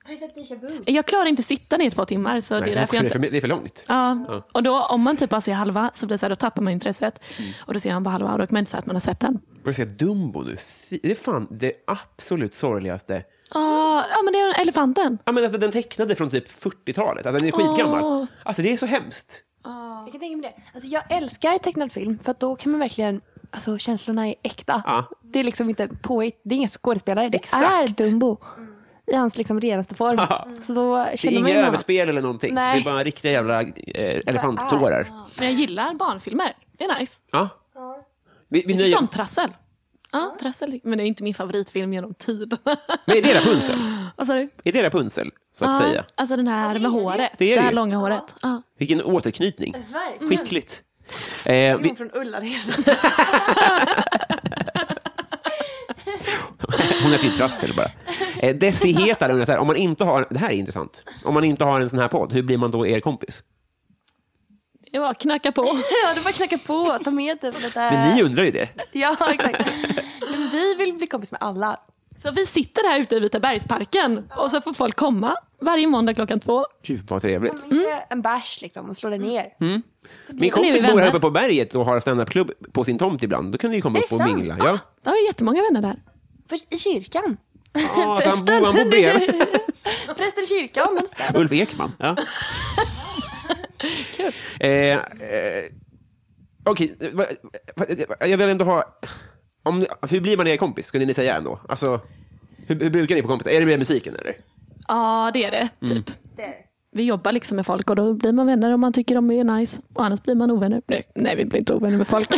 [SPEAKER 5] Har du sett Deja Vu?
[SPEAKER 3] Jag klarar inte sitta ner i två timmar. Så
[SPEAKER 2] Nej,
[SPEAKER 3] det är
[SPEAKER 2] det, är
[SPEAKER 3] därför
[SPEAKER 2] för,
[SPEAKER 3] jag
[SPEAKER 2] det, är
[SPEAKER 3] inte...
[SPEAKER 2] för, det är för långt.
[SPEAKER 3] Ja. Och då, om man typ bara ser halva så blir det så här, då tappar man intresset.
[SPEAKER 2] Mm.
[SPEAKER 3] Och då ser man bara halva och då kan man inte säga att man har sett den.
[SPEAKER 2] Börjar säga Dumbo nu. Fy- Det är fan det absolut sorgligaste.
[SPEAKER 3] Ah, ja, men det är elefanten.
[SPEAKER 2] Ja, men alltså, den tecknade från typ 40-talet. Alltså, den är skitgammal. Alltså, det är så hemskt.
[SPEAKER 4] Jag kan tänka mig det. Alltså jag älskar tecknad film för att då kan man verkligen, alltså känslorna är äkta.
[SPEAKER 2] Ja.
[SPEAKER 4] Det är liksom inte påhitt, det är inga skådespelare, det
[SPEAKER 2] Exakt.
[SPEAKER 4] är Dumbo.
[SPEAKER 5] Mm.
[SPEAKER 4] I hans liksom renaste form. Så då
[SPEAKER 2] Det är
[SPEAKER 4] känner man
[SPEAKER 2] inga
[SPEAKER 4] ju honom.
[SPEAKER 2] överspel eller någonting.
[SPEAKER 4] Nej.
[SPEAKER 2] Det är bara riktiga jävla eh, elefanttårar.
[SPEAKER 3] Men jag gillar barnfilmer. Det är nice.
[SPEAKER 2] Ja. Vi, vi
[SPEAKER 3] Ah. Jag tyckte
[SPEAKER 2] nöjer...
[SPEAKER 3] om Trassel. Ja, Trassel. Men det är inte min favoritfilm genom tiden.
[SPEAKER 2] Men är det Rapunzel?
[SPEAKER 3] Vad sa du?
[SPEAKER 2] Är det Rapunzel, så att
[SPEAKER 3] Ja,
[SPEAKER 2] säga?
[SPEAKER 3] Alltså den här med håret.
[SPEAKER 2] Det
[SPEAKER 3] Det,
[SPEAKER 2] är det
[SPEAKER 3] här
[SPEAKER 2] ju.
[SPEAKER 3] långa håret. Ja.
[SPEAKER 2] Vilken återknytning.
[SPEAKER 5] Verkligen.
[SPEAKER 2] Skickligt. Eh, vi...
[SPEAKER 5] Från Ullared.
[SPEAKER 2] Hon äter ju trassel bara. Eh, Desi Hetar undrar så här, om man inte har, det här är intressant, om man inte har en sån här podd, hur blir man då er kompis?
[SPEAKER 3] Det var knacka på.
[SPEAKER 4] Ja, det var knacka på. Ta med typ lite...
[SPEAKER 2] Men ni
[SPEAKER 3] Eh.
[SPEAKER 2] undrar ju det.
[SPEAKER 4] Ja, exakt. Men vi vill bli kompis med alla.
[SPEAKER 3] Så vi sitter här ute i Vita bergsparken och så får folk komma varje måndag klockan två.
[SPEAKER 2] Gud vad trevligt.
[SPEAKER 4] Mm. En bärs liksom och slå den ner.
[SPEAKER 2] Min
[SPEAKER 3] Ni Alltså, är
[SPEAKER 2] kompis
[SPEAKER 3] vänner.
[SPEAKER 2] bor här uppe på berget och har standupklubb på sin tomt ibland. Då kan ni ju komma upp och mingla. Ja.
[SPEAKER 3] Då har vi jättemånga vänner där.
[SPEAKER 4] Först i kyrkan.
[SPEAKER 2] Ah, så han, bor, han bor bredvid.
[SPEAKER 4] Prästen i kyrkan. men-
[SPEAKER 2] Ulf Ekman. Ja. eh, eh, Okej, va- va- va- jag vill ändå ha... Om, hur blir man er kompis, skulle ni säga ändå? Alltså, hur, hur brukar ni på kompisar? Är det med musiken eller?
[SPEAKER 3] Ja, det är det. Typ. Vi jobbar liksom med folk och då blir man vänner om man tycker de är nice. Och annars blir man ovänner. Nej, nej vi blir inte ovänner med folk.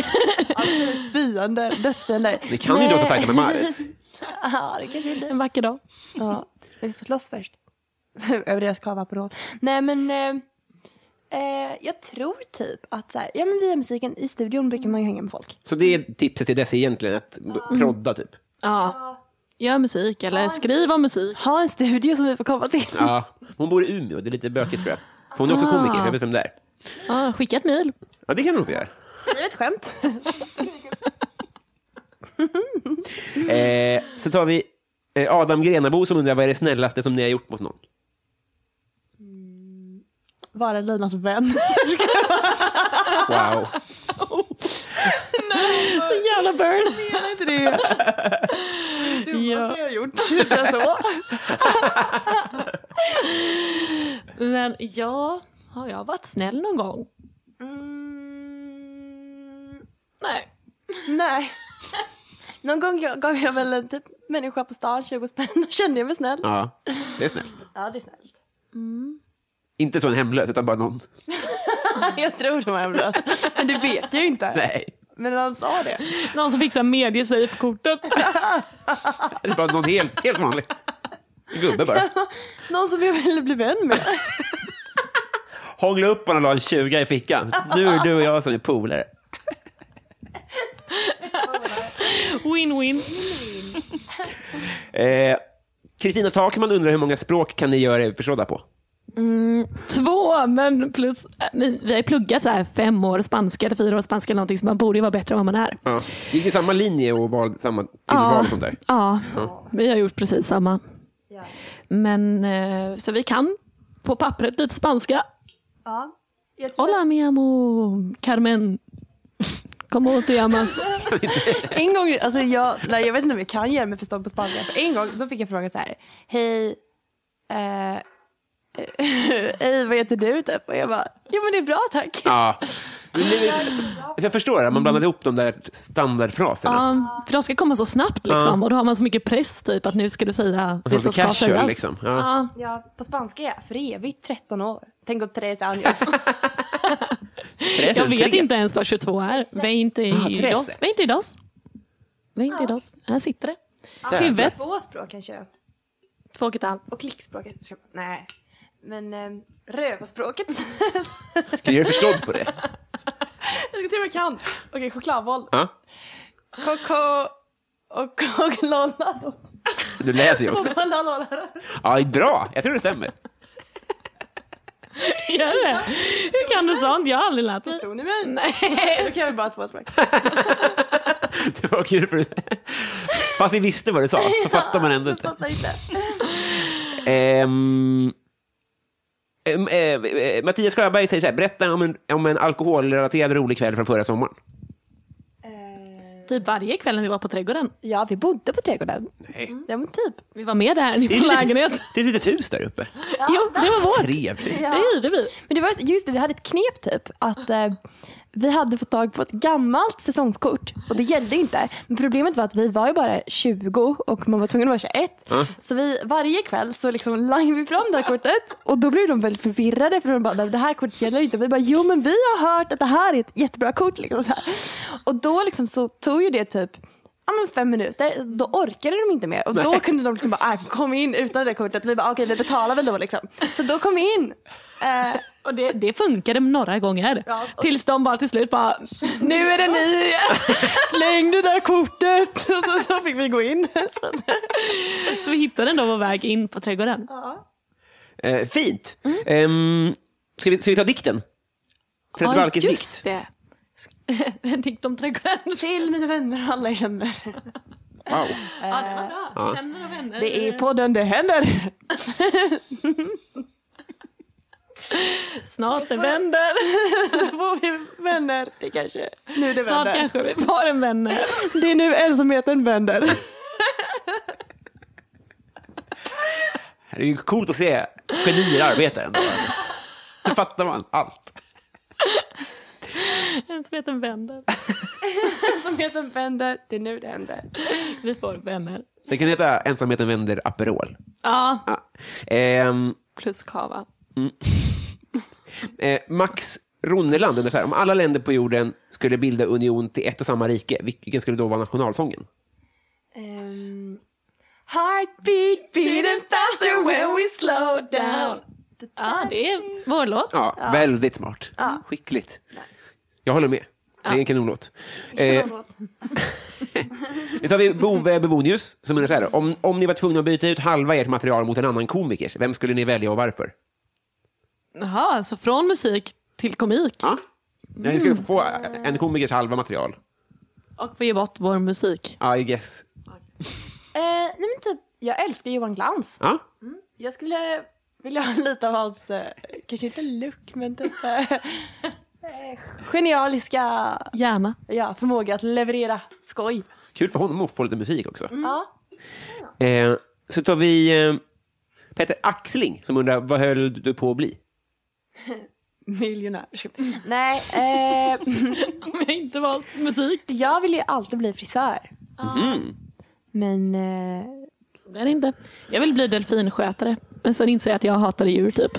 [SPEAKER 4] Fiender. Dödsfiender.
[SPEAKER 2] Ni kan ju inte vara så tajta med Mares.
[SPEAKER 4] Ja, det kanske vi blir.
[SPEAKER 3] en vacker dag.
[SPEAKER 4] Ja, men vi får slåss först. Över deras kava på Nej, men eh, eh, jag tror typ att så här, ja, men via musiken i studion brukar man ju hänga med folk.
[SPEAKER 2] Så det är tipset till dess egentligen, att b- prodda typ.
[SPEAKER 3] Ja. Gör musik eller skriv om musik.
[SPEAKER 4] Ha en studio som vi får komma till.
[SPEAKER 2] Ja. Hon bor i Umeå, det är lite bökigt tror jag. För hon är också komiker, jag vet vem det är.
[SPEAKER 3] Ja, skicka ett mejl.
[SPEAKER 2] Ja, det kan hon få göra.
[SPEAKER 4] Det är ett skämt.
[SPEAKER 2] Eh, så tar vi eh, Adam Grenabo som undrar vad är det snällaste som ni har gjort mot någon?
[SPEAKER 4] Mm. Vara Linas vän.
[SPEAKER 2] Wow.
[SPEAKER 3] Så jävla burn.
[SPEAKER 4] Menar inte det?
[SPEAKER 3] Ja.
[SPEAKER 4] Jag har gjort det så.
[SPEAKER 3] Men ja, har jag varit snäll någon gång?
[SPEAKER 4] Mm,
[SPEAKER 3] Nej.
[SPEAKER 4] nej. Någon gång jag- gav jag väl en typ människa på stan 20 spänn. Då kände jag mig snäll.
[SPEAKER 2] Ja, det är snällt.
[SPEAKER 4] Ja, det är snällt.
[SPEAKER 2] Inte så en hemlös, utan bara någon.
[SPEAKER 4] Jag tror det var en bra. Men det vet jag ju inte.
[SPEAKER 2] Nej,
[SPEAKER 4] Men han sa det.
[SPEAKER 3] Någon som fixar medier på kortet.
[SPEAKER 2] det är bara någon helt, helt vanlig. En gubbe bara.
[SPEAKER 4] Någon som jag ville bli vän med.
[SPEAKER 2] Hångla upp honom och la en 20 i fickan. Nu är du och jag som är polare.
[SPEAKER 3] Win-win.
[SPEAKER 2] Eh, Kristina Takman undrar hur många språk kan ni göra er förstådda på?
[SPEAKER 3] Två, men plus... äh, men Vi har ju pluggat så här fem år spanska eller fyra år spanska eller någonting så man borde ju vara bättre än vad man är.
[SPEAKER 2] Ja. Gick ni samma linje och valde samma tillval och sånt där?
[SPEAKER 3] Ja, vi har gjort precis samma. Men eh, så vi kan på pappret lite spanska.
[SPEAKER 4] Ja. Jag tror
[SPEAKER 3] Hola mi amor, Carmen. Como te llamas?
[SPEAKER 4] En gång, alltså jag, nej, jag vet inte om jag kan göra mig förstådd på spanska. För en gång då fick jag frågan så här. Hej, eh, hej vad heter du typ? Och jag bara, jo men det är bra tack.
[SPEAKER 2] Ja. Men nu- Jag förstår det, man blandade ihop de där standardfraserna.
[SPEAKER 3] Ja, för de ska komma så snabbt liksom. Och då har man så mycket press typ att nu ska du säga det som
[SPEAKER 2] så
[SPEAKER 3] ska
[SPEAKER 2] Alltså, casual,
[SPEAKER 3] sägas.
[SPEAKER 2] liksom. Ja.
[SPEAKER 3] Ja.
[SPEAKER 4] Ja, på spanska ja, för evigt 13 år. Tänk åt Therese Anjos.
[SPEAKER 2] Tres eller
[SPEAKER 3] Jag vet
[SPEAKER 2] Alltså, tre? Ah,
[SPEAKER 3] inte ens vad 22 är. Veinte
[SPEAKER 2] Therese.
[SPEAKER 3] idos. Veinte idos. Veinte idos. Här sitter det. Huvudet.
[SPEAKER 4] Två språk kanske jag.
[SPEAKER 3] Två och ett halvt.
[SPEAKER 4] Och klickspråket. kanske jag- Nej. Men eh, rövarspråket.
[SPEAKER 2] Kan du göra dig förstådd på det?
[SPEAKER 4] jag ska se vad jag kan. Okej, chokladboll.
[SPEAKER 2] Ja.
[SPEAKER 4] Koko och kokolonado.
[SPEAKER 2] Du läser ju också.
[SPEAKER 4] Kokolonado.
[SPEAKER 2] Ja, bra, jag tror det stämmer.
[SPEAKER 3] Gör det? Hur kan du sånt? Jag har aldrig lärt mig.
[SPEAKER 4] Förstod ni mig? Nej. Då kan vi bara två språk.
[SPEAKER 2] Det var kul. För... Fast vi visste vad du sa, så fattar man ändå inte.
[SPEAKER 4] Fattar inte.
[SPEAKER 2] Ehm, ehm, eh, eh, Mattias Sjöberg säger så här, berätta om en, om en alkoholrelaterad rolig kväll från förra sommaren.
[SPEAKER 3] Mm. Typ varje kväll när vi var på trädgården.
[SPEAKER 4] Ja, vi bodde på trädgården.
[SPEAKER 2] Nej.
[SPEAKER 4] Ja, men typ.
[SPEAKER 3] Vi var med där i
[SPEAKER 2] Det är
[SPEAKER 3] vår
[SPEAKER 2] lite-
[SPEAKER 3] lägenhet.
[SPEAKER 2] Det är ett litet hus där uppe.
[SPEAKER 3] Jo, det var vårt.
[SPEAKER 2] Trevligt.
[SPEAKER 3] Det hyrde vi.
[SPEAKER 4] Men det var just det, vi hade ett knep typ. Att eh, vi hade fått tag på ett gammalt säsongskort och det gällde inte. Men problemet var att vi var ju bara 20 och man var tvungen att vara 21. Så vi, varje kväll så liksom langade vi fram det här kortet och då blev de väldigt förvirrade för de bara, "Nej, det här kortet gäller inte. Och vi bara, jo men vi har hört att det här är ett jättebra kort. Liksom, så här. Och då liksom så tog ju det typ ja, men fem minuter. Då orkade de inte mer. Och då kunde de liksom bara, ah, kom in utan det där kortet. Vi bara, okej vi betalar väl då liksom. Så då kom vi in. Eh,
[SPEAKER 3] Och det, det funkade några gånger.
[SPEAKER 4] Ja.
[SPEAKER 3] Tills de bara till slut bara, nu är det ni igen. Släng det där kortet.
[SPEAKER 4] och så, så fick vi gå in. Så,
[SPEAKER 3] Så vi hittade ändå vår väg in på trädgården.
[SPEAKER 2] Eh, fint.
[SPEAKER 3] Mm.
[SPEAKER 2] Ehm, ska, vi, ska vi ta dikten? Fredrik
[SPEAKER 3] Ja,
[SPEAKER 2] Balkes dikt.
[SPEAKER 3] just det. En dikt om trädgården.
[SPEAKER 4] till mina vänner och alla jag känner.
[SPEAKER 2] Wow.
[SPEAKER 3] Ja, det var bra. Känner och vänner.
[SPEAKER 4] Det är podden det händer.
[SPEAKER 3] Snart det vänder.
[SPEAKER 4] Då får vi vänner. Det kanske, nu det
[SPEAKER 3] Snart
[SPEAKER 4] vänder.
[SPEAKER 3] kanske vi har en vänner.
[SPEAKER 4] Det är nu ensamheten vänder.
[SPEAKER 2] Det är ju coolt att se genier arbeta. ändå, alltså. Nu fattar man allt.
[SPEAKER 3] En som heter vänder.
[SPEAKER 4] Ensamheten vänder. Det är nu det händer.
[SPEAKER 3] Vi får vänner.
[SPEAKER 2] Det kan heta Ensamheten vänder Aperol.
[SPEAKER 3] Ja,
[SPEAKER 2] Ja. Ehm,
[SPEAKER 3] plus kava.
[SPEAKER 2] eh, Max Ronneland undrar så här, om alla länder på jorden skulle bilda union till ett och samma rike, vilken skulle då vara nationalsången?
[SPEAKER 4] Ehm,
[SPEAKER 3] Heartbeat beating faster when we slow down. Ja, det är vår låt.
[SPEAKER 2] Ja, Väldigt smart. Skickligt. Jag håller med. Det är en kanonlåt. Eh, nu tar vi Bove Bevonius som undrar så här. Om, om ni var tvungna att byta ut halva ert material mot en annan komikers, vem skulle ni välja och varför?
[SPEAKER 3] Jaha, så från musik till komik.
[SPEAKER 2] Ja. Mm. Ja, ni skulle få en komikers halva material.
[SPEAKER 3] Och få ge bort vår musik.
[SPEAKER 2] I guess.
[SPEAKER 4] eh, nej men typ, jag älskar Johan Glans.
[SPEAKER 2] Ja,
[SPEAKER 4] Jag skulle vilja ha lite av hans, eh, kanske inte look, men typ eh, eh, genialiska
[SPEAKER 3] Gärna.
[SPEAKER 4] ja, förmåga att leverera skoj.
[SPEAKER 2] kul för honom att få lite musik också.
[SPEAKER 4] Ja.
[SPEAKER 2] Eh, så tar vi eh, Peter Axling som undrar vad höll du på att bli?
[SPEAKER 4] Miljonär. Nej, eh,
[SPEAKER 3] Om jag inte valt musik.
[SPEAKER 4] jag ville ju alltid bli frisör. Men Ah. eh,
[SPEAKER 3] Så blir det inte. Jag vill bli delfinskötare. Men sen insåg jag att jag hatade djur typ.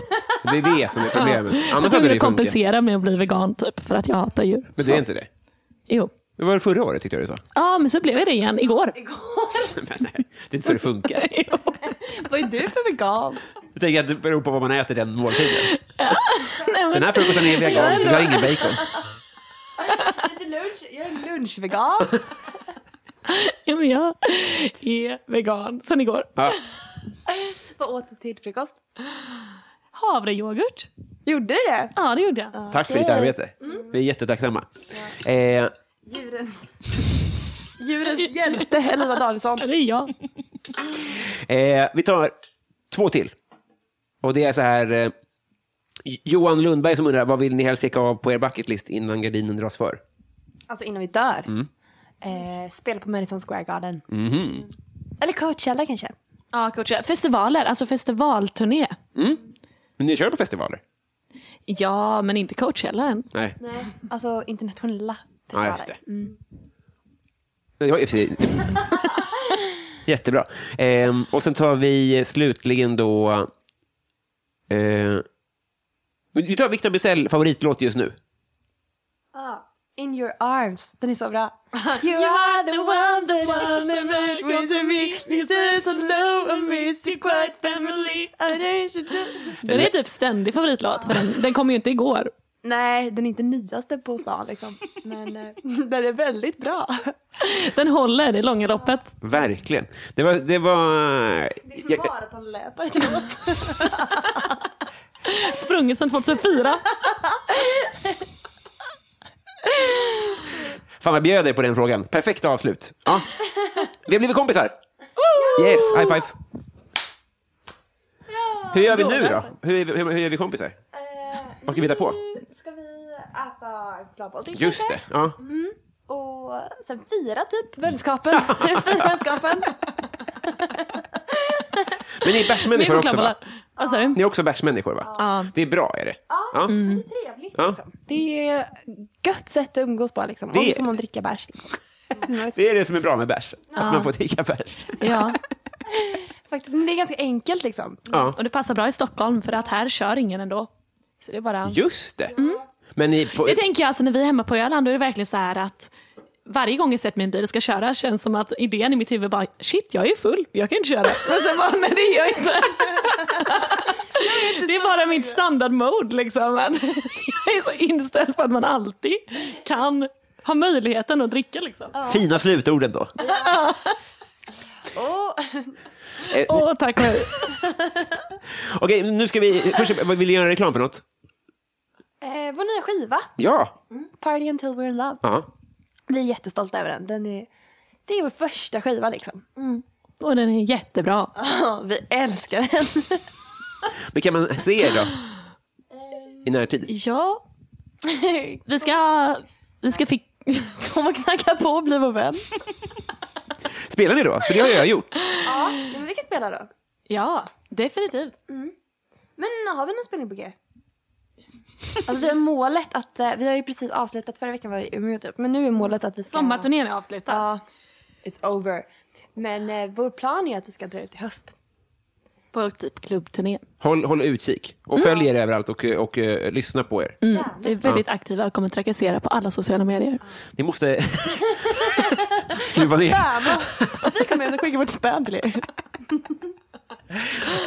[SPEAKER 2] Det är det som är problemet.
[SPEAKER 3] Jag
[SPEAKER 2] Annars hade
[SPEAKER 3] trodde
[SPEAKER 2] det
[SPEAKER 3] det
[SPEAKER 2] ju funkat.
[SPEAKER 3] kompensera med att bli vegan typ. För att jag hatar djur.
[SPEAKER 2] Men det är inte det.
[SPEAKER 3] Jo.
[SPEAKER 2] Det var det förra året tyckte jag du sa.
[SPEAKER 3] Ja, men så blev jag det igen igår.
[SPEAKER 2] Men nej, det är inte så det funkar.
[SPEAKER 4] vad är du för vegan?
[SPEAKER 2] Jag tänker att det beror på vad man äter den måltiden. Den här frukosten är vegan, för vi har ingen bacon.
[SPEAKER 4] Lite lunch. Jag är lunchvegan.
[SPEAKER 3] Ja, men jag är vegan sen igår.
[SPEAKER 2] Ja.
[SPEAKER 4] vad åt du till frukost?
[SPEAKER 3] Havrejoghurt.
[SPEAKER 4] Gjorde du det?
[SPEAKER 3] Ja, det gjorde jag.
[SPEAKER 2] Tack för ditt arbete. Vi är jättetacksamma. Eh,
[SPEAKER 4] Djurens hjälte Helena Danielsson.
[SPEAKER 3] Det är jag.
[SPEAKER 2] eh, vi tar två till. Och det är så här... Eh, Johan Lundberg som undrar, vad vill ni helst checka av på er bucketlist innan gardinen dras för?
[SPEAKER 4] Alltså innan vi dör.
[SPEAKER 2] Mm.
[SPEAKER 4] Eh, spela på Madison Square Garden.
[SPEAKER 2] Mhm.
[SPEAKER 4] Eller Coachella kanske.
[SPEAKER 3] Ja, coacha. Festivaler, alltså festivalturné.
[SPEAKER 2] Men ni kör på festivaler?
[SPEAKER 3] Ja, men inte Coachella än.
[SPEAKER 2] Nej.
[SPEAKER 4] Alltså internationella
[SPEAKER 2] Ja,
[SPEAKER 4] festivaler.
[SPEAKER 2] just det. Det var i och för sig- Jättebra. Ehm, och sen tar vi slutligen då... Eh, vi tar Victor Bysell favoritlåt just nu.
[SPEAKER 4] Ja. In your arms. Den är så bra. You are the one that wanna make me to me. You said so low and miss you quite family. I don't should do-
[SPEAKER 3] Den är typ ständig favoritlåt, för den, den kom ju inte igår.
[SPEAKER 4] Nej, den är inte nyaste på stan liksom. Men eh, den är väldigt bra.
[SPEAKER 3] Den håller i långa loppet.
[SPEAKER 2] Verkligen. Det var... Det var jag,
[SPEAKER 4] Maratonlöpare till något.
[SPEAKER 3] Sprungit sedan 2004.
[SPEAKER 2] fan, jag bjöd dig på den frågan. Perfekt avslut. Ja. Vi har blivit kompisar. Yes, high fives. Hur gör vi nu då? Hur, är vi- hur, hur är vi kompisar?
[SPEAKER 5] eh,
[SPEAKER 2] Vad ska vi hitta på?
[SPEAKER 4] eh,
[SPEAKER 6] Mm.
[SPEAKER 4] Ska vi äta chokladboll till
[SPEAKER 2] Just det. Ja.
[SPEAKER 4] Och sen fira typ vänskapen. fira vänskapen.
[SPEAKER 2] Men ni är bärsmänniskor också va?
[SPEAKER 3] Vad sa du?
[SPEAKER 2] Ni är också bärsmänniskor va?
[SPEAKER 3] Ja.
[SPEAKER 2] Det är bra är det? Ja.
[SPEAKER 4] Trevligt.
[SPEAKER 2] Ja.
[SPEAKER 4] Det är gött sätt att umgås på liksom.
[SPEAKER 2] Det-
[SPEAKER 4] Och så får man dricka bärs. Mm,
[SPEAKER 2] Det är det som är bra med bärs. Att man får dricka bärs.
[SPEAKER 3] Ja.
[SPEAKER 4] Faktiskt, men det är ganska enkelt liksom.
[SPEAKER 2] Ja.
[SPEAKER 3] Och det passar bra i Stockholm, för att här kör ingen ändå. Så det är bara...
[SPEAKER 2] Just det. Men ni på,
[SPEAKER 3] Det tänker jag, alltså när vi är hemma på Öland, då är det verkligen så här att varje gång jag sett min bil och ska köra känns som att idén i mitt huvud bara, shit jag är ju full, jag kan ju inte köra. Men sen bara, nej det är jag inte. Det är bara mitt standardmode liksom. Att jag är så inställd på att man alltid kan ha möjligheten att dricka liksom.
[SPEAKER 2] Fina slutorden då. Eh,
[SPEAKER 3] Åh tack nej.
[SPEAKER 2] Okej, nu ska vi... Först, vill du göra reklam för något?
[SPEAKER 4] Eh, vår nya skiva,
[SPEAKER 2] Ja.
[SPEAKER 4] Party Until We're In Love.
[SPEAKER 2] ja.
[SPEAKER 4] Vi är jättestolta över den. den är, det är vår första skiva liksom.
[SPEAKER 3] Och den är jättebra.
[SPEAKER 4] Ja, vi älskar den.
[SPEAKER 2] Men kan man se er då? I närtid?
[SPEAKER 3] Ja, vi ska, vi ska fick...
[SPEAKER 4] Kom och knacka på och bli vår vän.
[SPEAKER 2] Spelar ni då? För det har jag gjort.
[SPEAKER 5] Ja, men vi kan spela då.
[SPEAKER 3] Ja, definitivt.
[SPEAKER 5] Men har vi någon spelning på G?
[SPEAKER 4] Alltså, vi har målet att, eh, vi har ju precis avslutat, förra veckan var vi i Umeå typ, men nu är målet att vi ska...
[SPEAKER 3] Sommarturnén är avslutad.
[SPEAKER 4] Ja, it's over. Men eh, vår plan är att vi ska dra ut i höst.
[SPEAKER 3] På typ klubbturnén.
[SPEAKER 2] Håll, håll utkik och följ er överallt och, och, eh, lyssna på er.
[SPEAKER 3] Vi är väldigt aktiva och kommer trakassera på alla sociala medier.
[SPEAKER 2] Ni måste skruva ner.
[SPEAKER 3] Vi kommer att skicka vårt spön till er.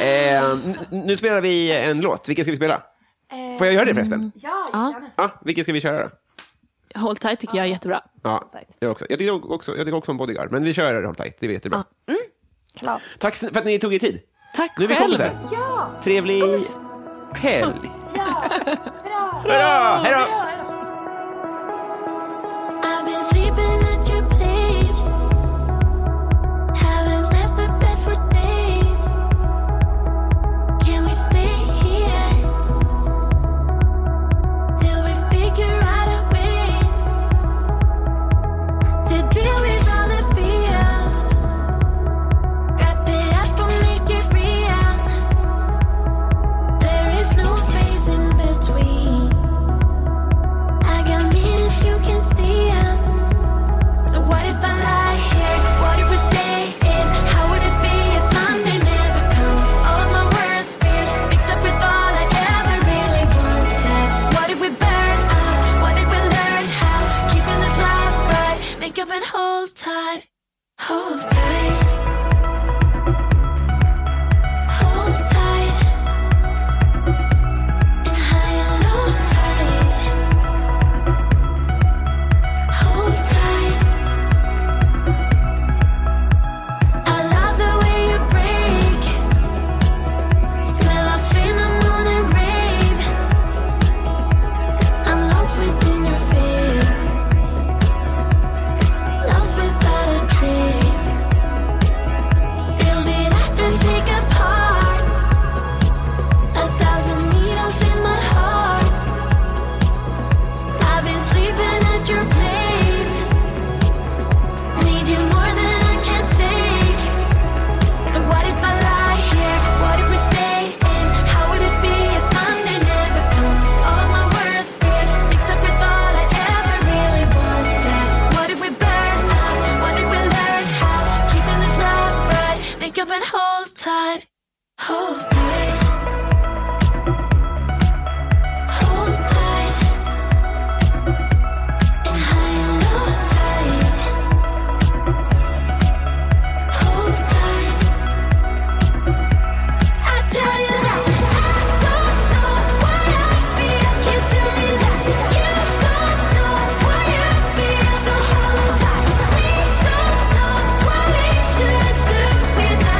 [SPEAKER 2] Eh, n- nu spelar vi en låt. Vilken ska vi spela? Får jag göra det förresten?
[SPEAKER 5] Ja,
[SPEAKER 3] Ja.
[SPEAKER 2] Ja, vilken ska vi köra då?
[SPEAKER 3] Håll tight tycker jag är jättebra.
[SPEAKER 2] Ja, jag, också. jag, tycker också, jag tycker också om Bodyguard, men vi kör Håll tight. Det vet du bra. Tack sn- för att ni tog er tid.
[SPEAKER 3] Tack
[SPEAKER 2] Nu är vi
[SPEAKER 3] själv.
[SPEAKER 2] kompisar. Trevlig helg. Hurra! Hej då!
[SPEAKER 6] I've been sleeping at your place. Haven't left the bed for days. Can we stay here till we figure out a way to deal with all the fears? Wrap it up and make it real. There is no space in between. I got minutes you can steal. um, So what if I lie here? What if we stay in? How would it be if Monday never comes? All of my worst fears mixed up with all I ever really wanted. What if we burn out? What if we learn how? Keeping this life right, make up and hold tight, hold tight. Hold tight and high and low tight. Hold tight. I love the way you break. Smell of cinnamon and rave. I'm lost within your face. Lost without a trace. Build it up and take apart. A thousand needles in my heart. I've been sleeping at your place. Need you more than I can take. So what if I lie here? What if we stay in? How would it be if Monday never comes? All of my worst fears mixed up with all I ever really wanted. What if we burn out? What if we learn how? Keeping this love right, make up and hold tight, hold tight, hold tight. And high and low tight. Hold tight. I tell you that I don't know what I feel. You tell me that you don't know what you feel. So hold tight. We don't know what we should do tonight.